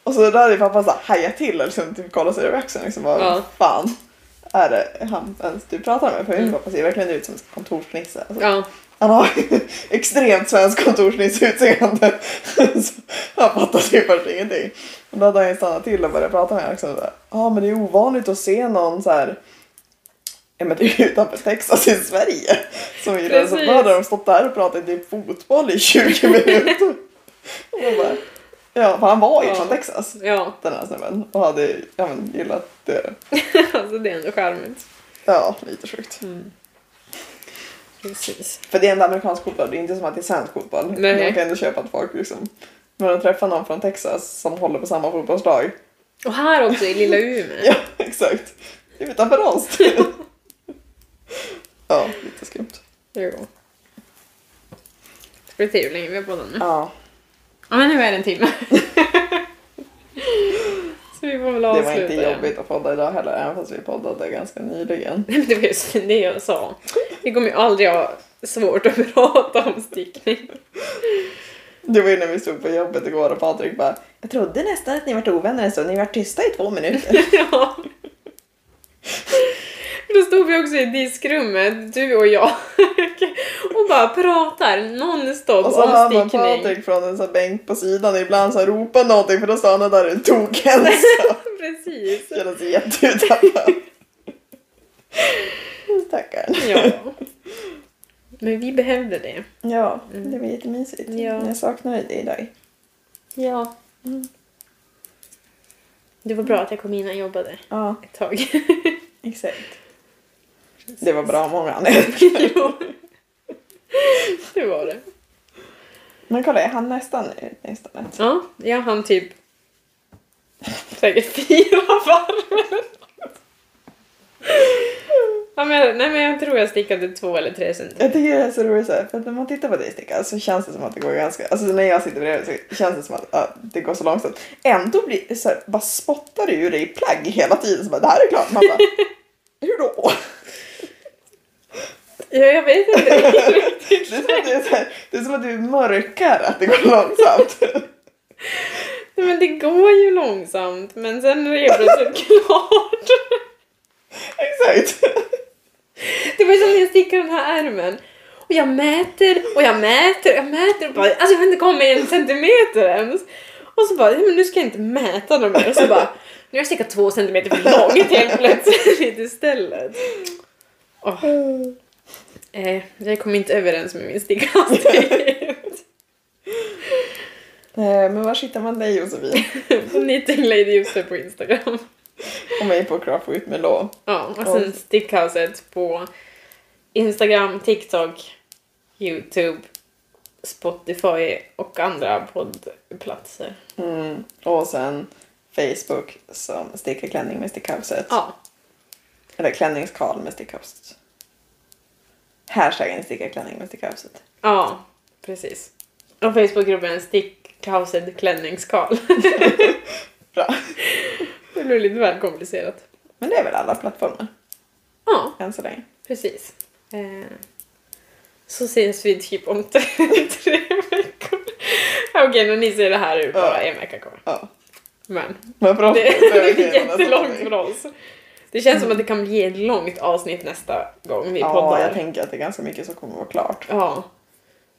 A: och så där hade pappa så här hajat till och liksom typ kollat sig över axeln liksom bara,
B: Ja.
A: "Vad fan är det han ens du pratar med? För min
B: Mm.
A: pappa ser verkligen ut som en kontorsnisse. Alltså,
B: ja.
A: Han har extremt svensk kontorsnisse-utseende. Så han fattar typ först ingenting. Och då hade han ju stannat till och börjat prata med henne. liksom så här, Ja men det är ovanligt att se någon så här Ja men det är ju utanför Texas i Sverige. Som är det. Så
B: Precis.
A: då hade de stått där och pratat i fotboll i 20 minuter. Och man bara, ja för han var ju
B: Ja.
A: från Texas.
B: Ja,
A: Den här snubben. Och hade ja, men, gillat det.
B: alltså det är ändå charmigt.
A: Ja lite sjukt.
B: Precis.
A: För det är ändå amerikansk fotboll, det är inte som att det är svensk fotboll.
B: Nej.
A: Man kan ändå köpa att folk liksom... Men de träffar någon från Texas som håller på samma fotbollslag.
B: Och här också i lilla Umeå.
A: Ja, exakt. Det är Utanför oss. ja, lite skumt.
B: Jo. Ska vi se hur länge vi har poddat nu?
A: Ja,
B: Ja men nu är det en timme. Så vi får väl
A: det
B: avsluta
A: var inte
B: igen.
A: jobbigt att podda idag heller, även fast vi poddade ganska nyligen.
B: Nej men det var just det jag sa. Vi kommer ju aldrig ha svårt att prata om stickning.
A: Det var ju när vi stod på jobbet igår och Patrik bara Jag trodde nästan att ni varit ovänner en stund, ni har varit tysta i två minuter.
B: Ja. Då stod vi också i diskrummet, du och jag, och bara pratar nonstop
A: och så
B: om
A: hör man
B: stickning.
A: Patrik från en sån här bänk på sidan ibland så här ropa någonting för då stannar där en tok ensam.
B: Precis.
A: Känner sig jätteutanför. Stackarn.
B: Ja. Men vi behövde det.
A: Ja, det var jättemysigt.
B: Ja.
A: Jag saknade dig idag.
B: Ja. Det var bra att jag kom in och jobbade
A: Ja,
B: ett tag.
A: exakt. Det var bra många anledningar.
B: Jo. det var det.
A: Men kolla, jag hann nästan ut nästan ett.
B: Ja, jag hann typ säkert fyra varv. Ja, men, nej men jag tror jag stickade två eller tre centimeter.
A: Jag tycker det är så roligt så här, för att när man tittar på dig sticka så känns det som att det går ganska, alltså när jag sitter bredvid så känns det som att ja, det går så långsamt. Ändå blir, så här, bara spottar du ur dig plagg hela tiden så bara det här är klart. Man bara, hur då?
B: Ja, jag vet inte
A: det, är som att det, är så här, det är som att du mörkar att det går långsamt.
B: Nej, men det går ju långsamt, men sen är det ju plötsligt klart.
A: Exakt.
B: Det var ju som när jag stickade den här ärmen. Och jag mäter och jag mäter och jag mäter och bara, alltså jag har inte kommit en centimeter ens. Och så bara, "Nej, men nu ska jag inte mäta dem mer. Och så bara, nu har jag stickat två centimeter för långt helt plötsligt istället. Åh, eh, jag kom inte överens med min stickhastighet.
A: Eh, Men var hittar man dig Josefin?
B: Knitting Lady Josef på Instagram.
A: Och mig på Craft ut med lå.
B: Ja, och sen Stickhouset på Instagram, TikTok, YouTube, Spotify och andra poddplatser.
A: Mm. Och sen Facebook som stickar klänning med stickhuset.
B: Ja,
A: Eller klänningskarl med stickhuset. Hashtaggen stickar klänning med stickhuset.
B: ja, precis. Och Facebookgruppen Stickhouset klänningskarl.
A: Bra.
B: Det blev lite väl komplicerat.
A: Men det är väl alla plattformar
B: Ja,
A: än så länge.
B: precis. Eh, Så ses vi typ om tre tre veckor. Okej, när ni ser det här är det bara en vecka kvar.
A: Ja.
B: Men
A: Men för oss
B: Det,
A: så är
B: det är
A: okej med nästa
B: jättelångt
A: gång.
B: för oss. Det känns som att det kan bli ett långt avsnitt nästa gång vi
A: Mm. Ja,
B: poddar.
A: jag tänker att det är ganska mycket som kommer att vara klart.
B: Ja.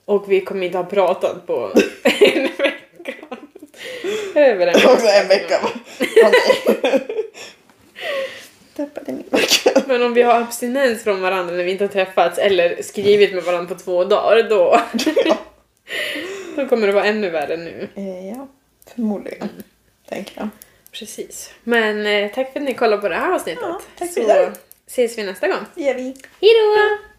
B: Och vi kommer inte ha pratat på en vecka. Över en
A: Också en vecka. va? Ja, nej. Tappade min vecka.
B: Men om vi har abstinens från varandra när vi inte har träffats eller skrivit med varandra på två dagar då,
A: Ja.
B: då kommer det vara ännu värre nu.
A: Eh, Ja, förmodligen. Tänker jag.
B: Precis. Men eh, tack för att ni kollade på det här avsnittet.
A: Ja, tack så
B: så
A: mycket.
B: ses vi nästa gång.
A: Det gör vi.
B: Hejdå!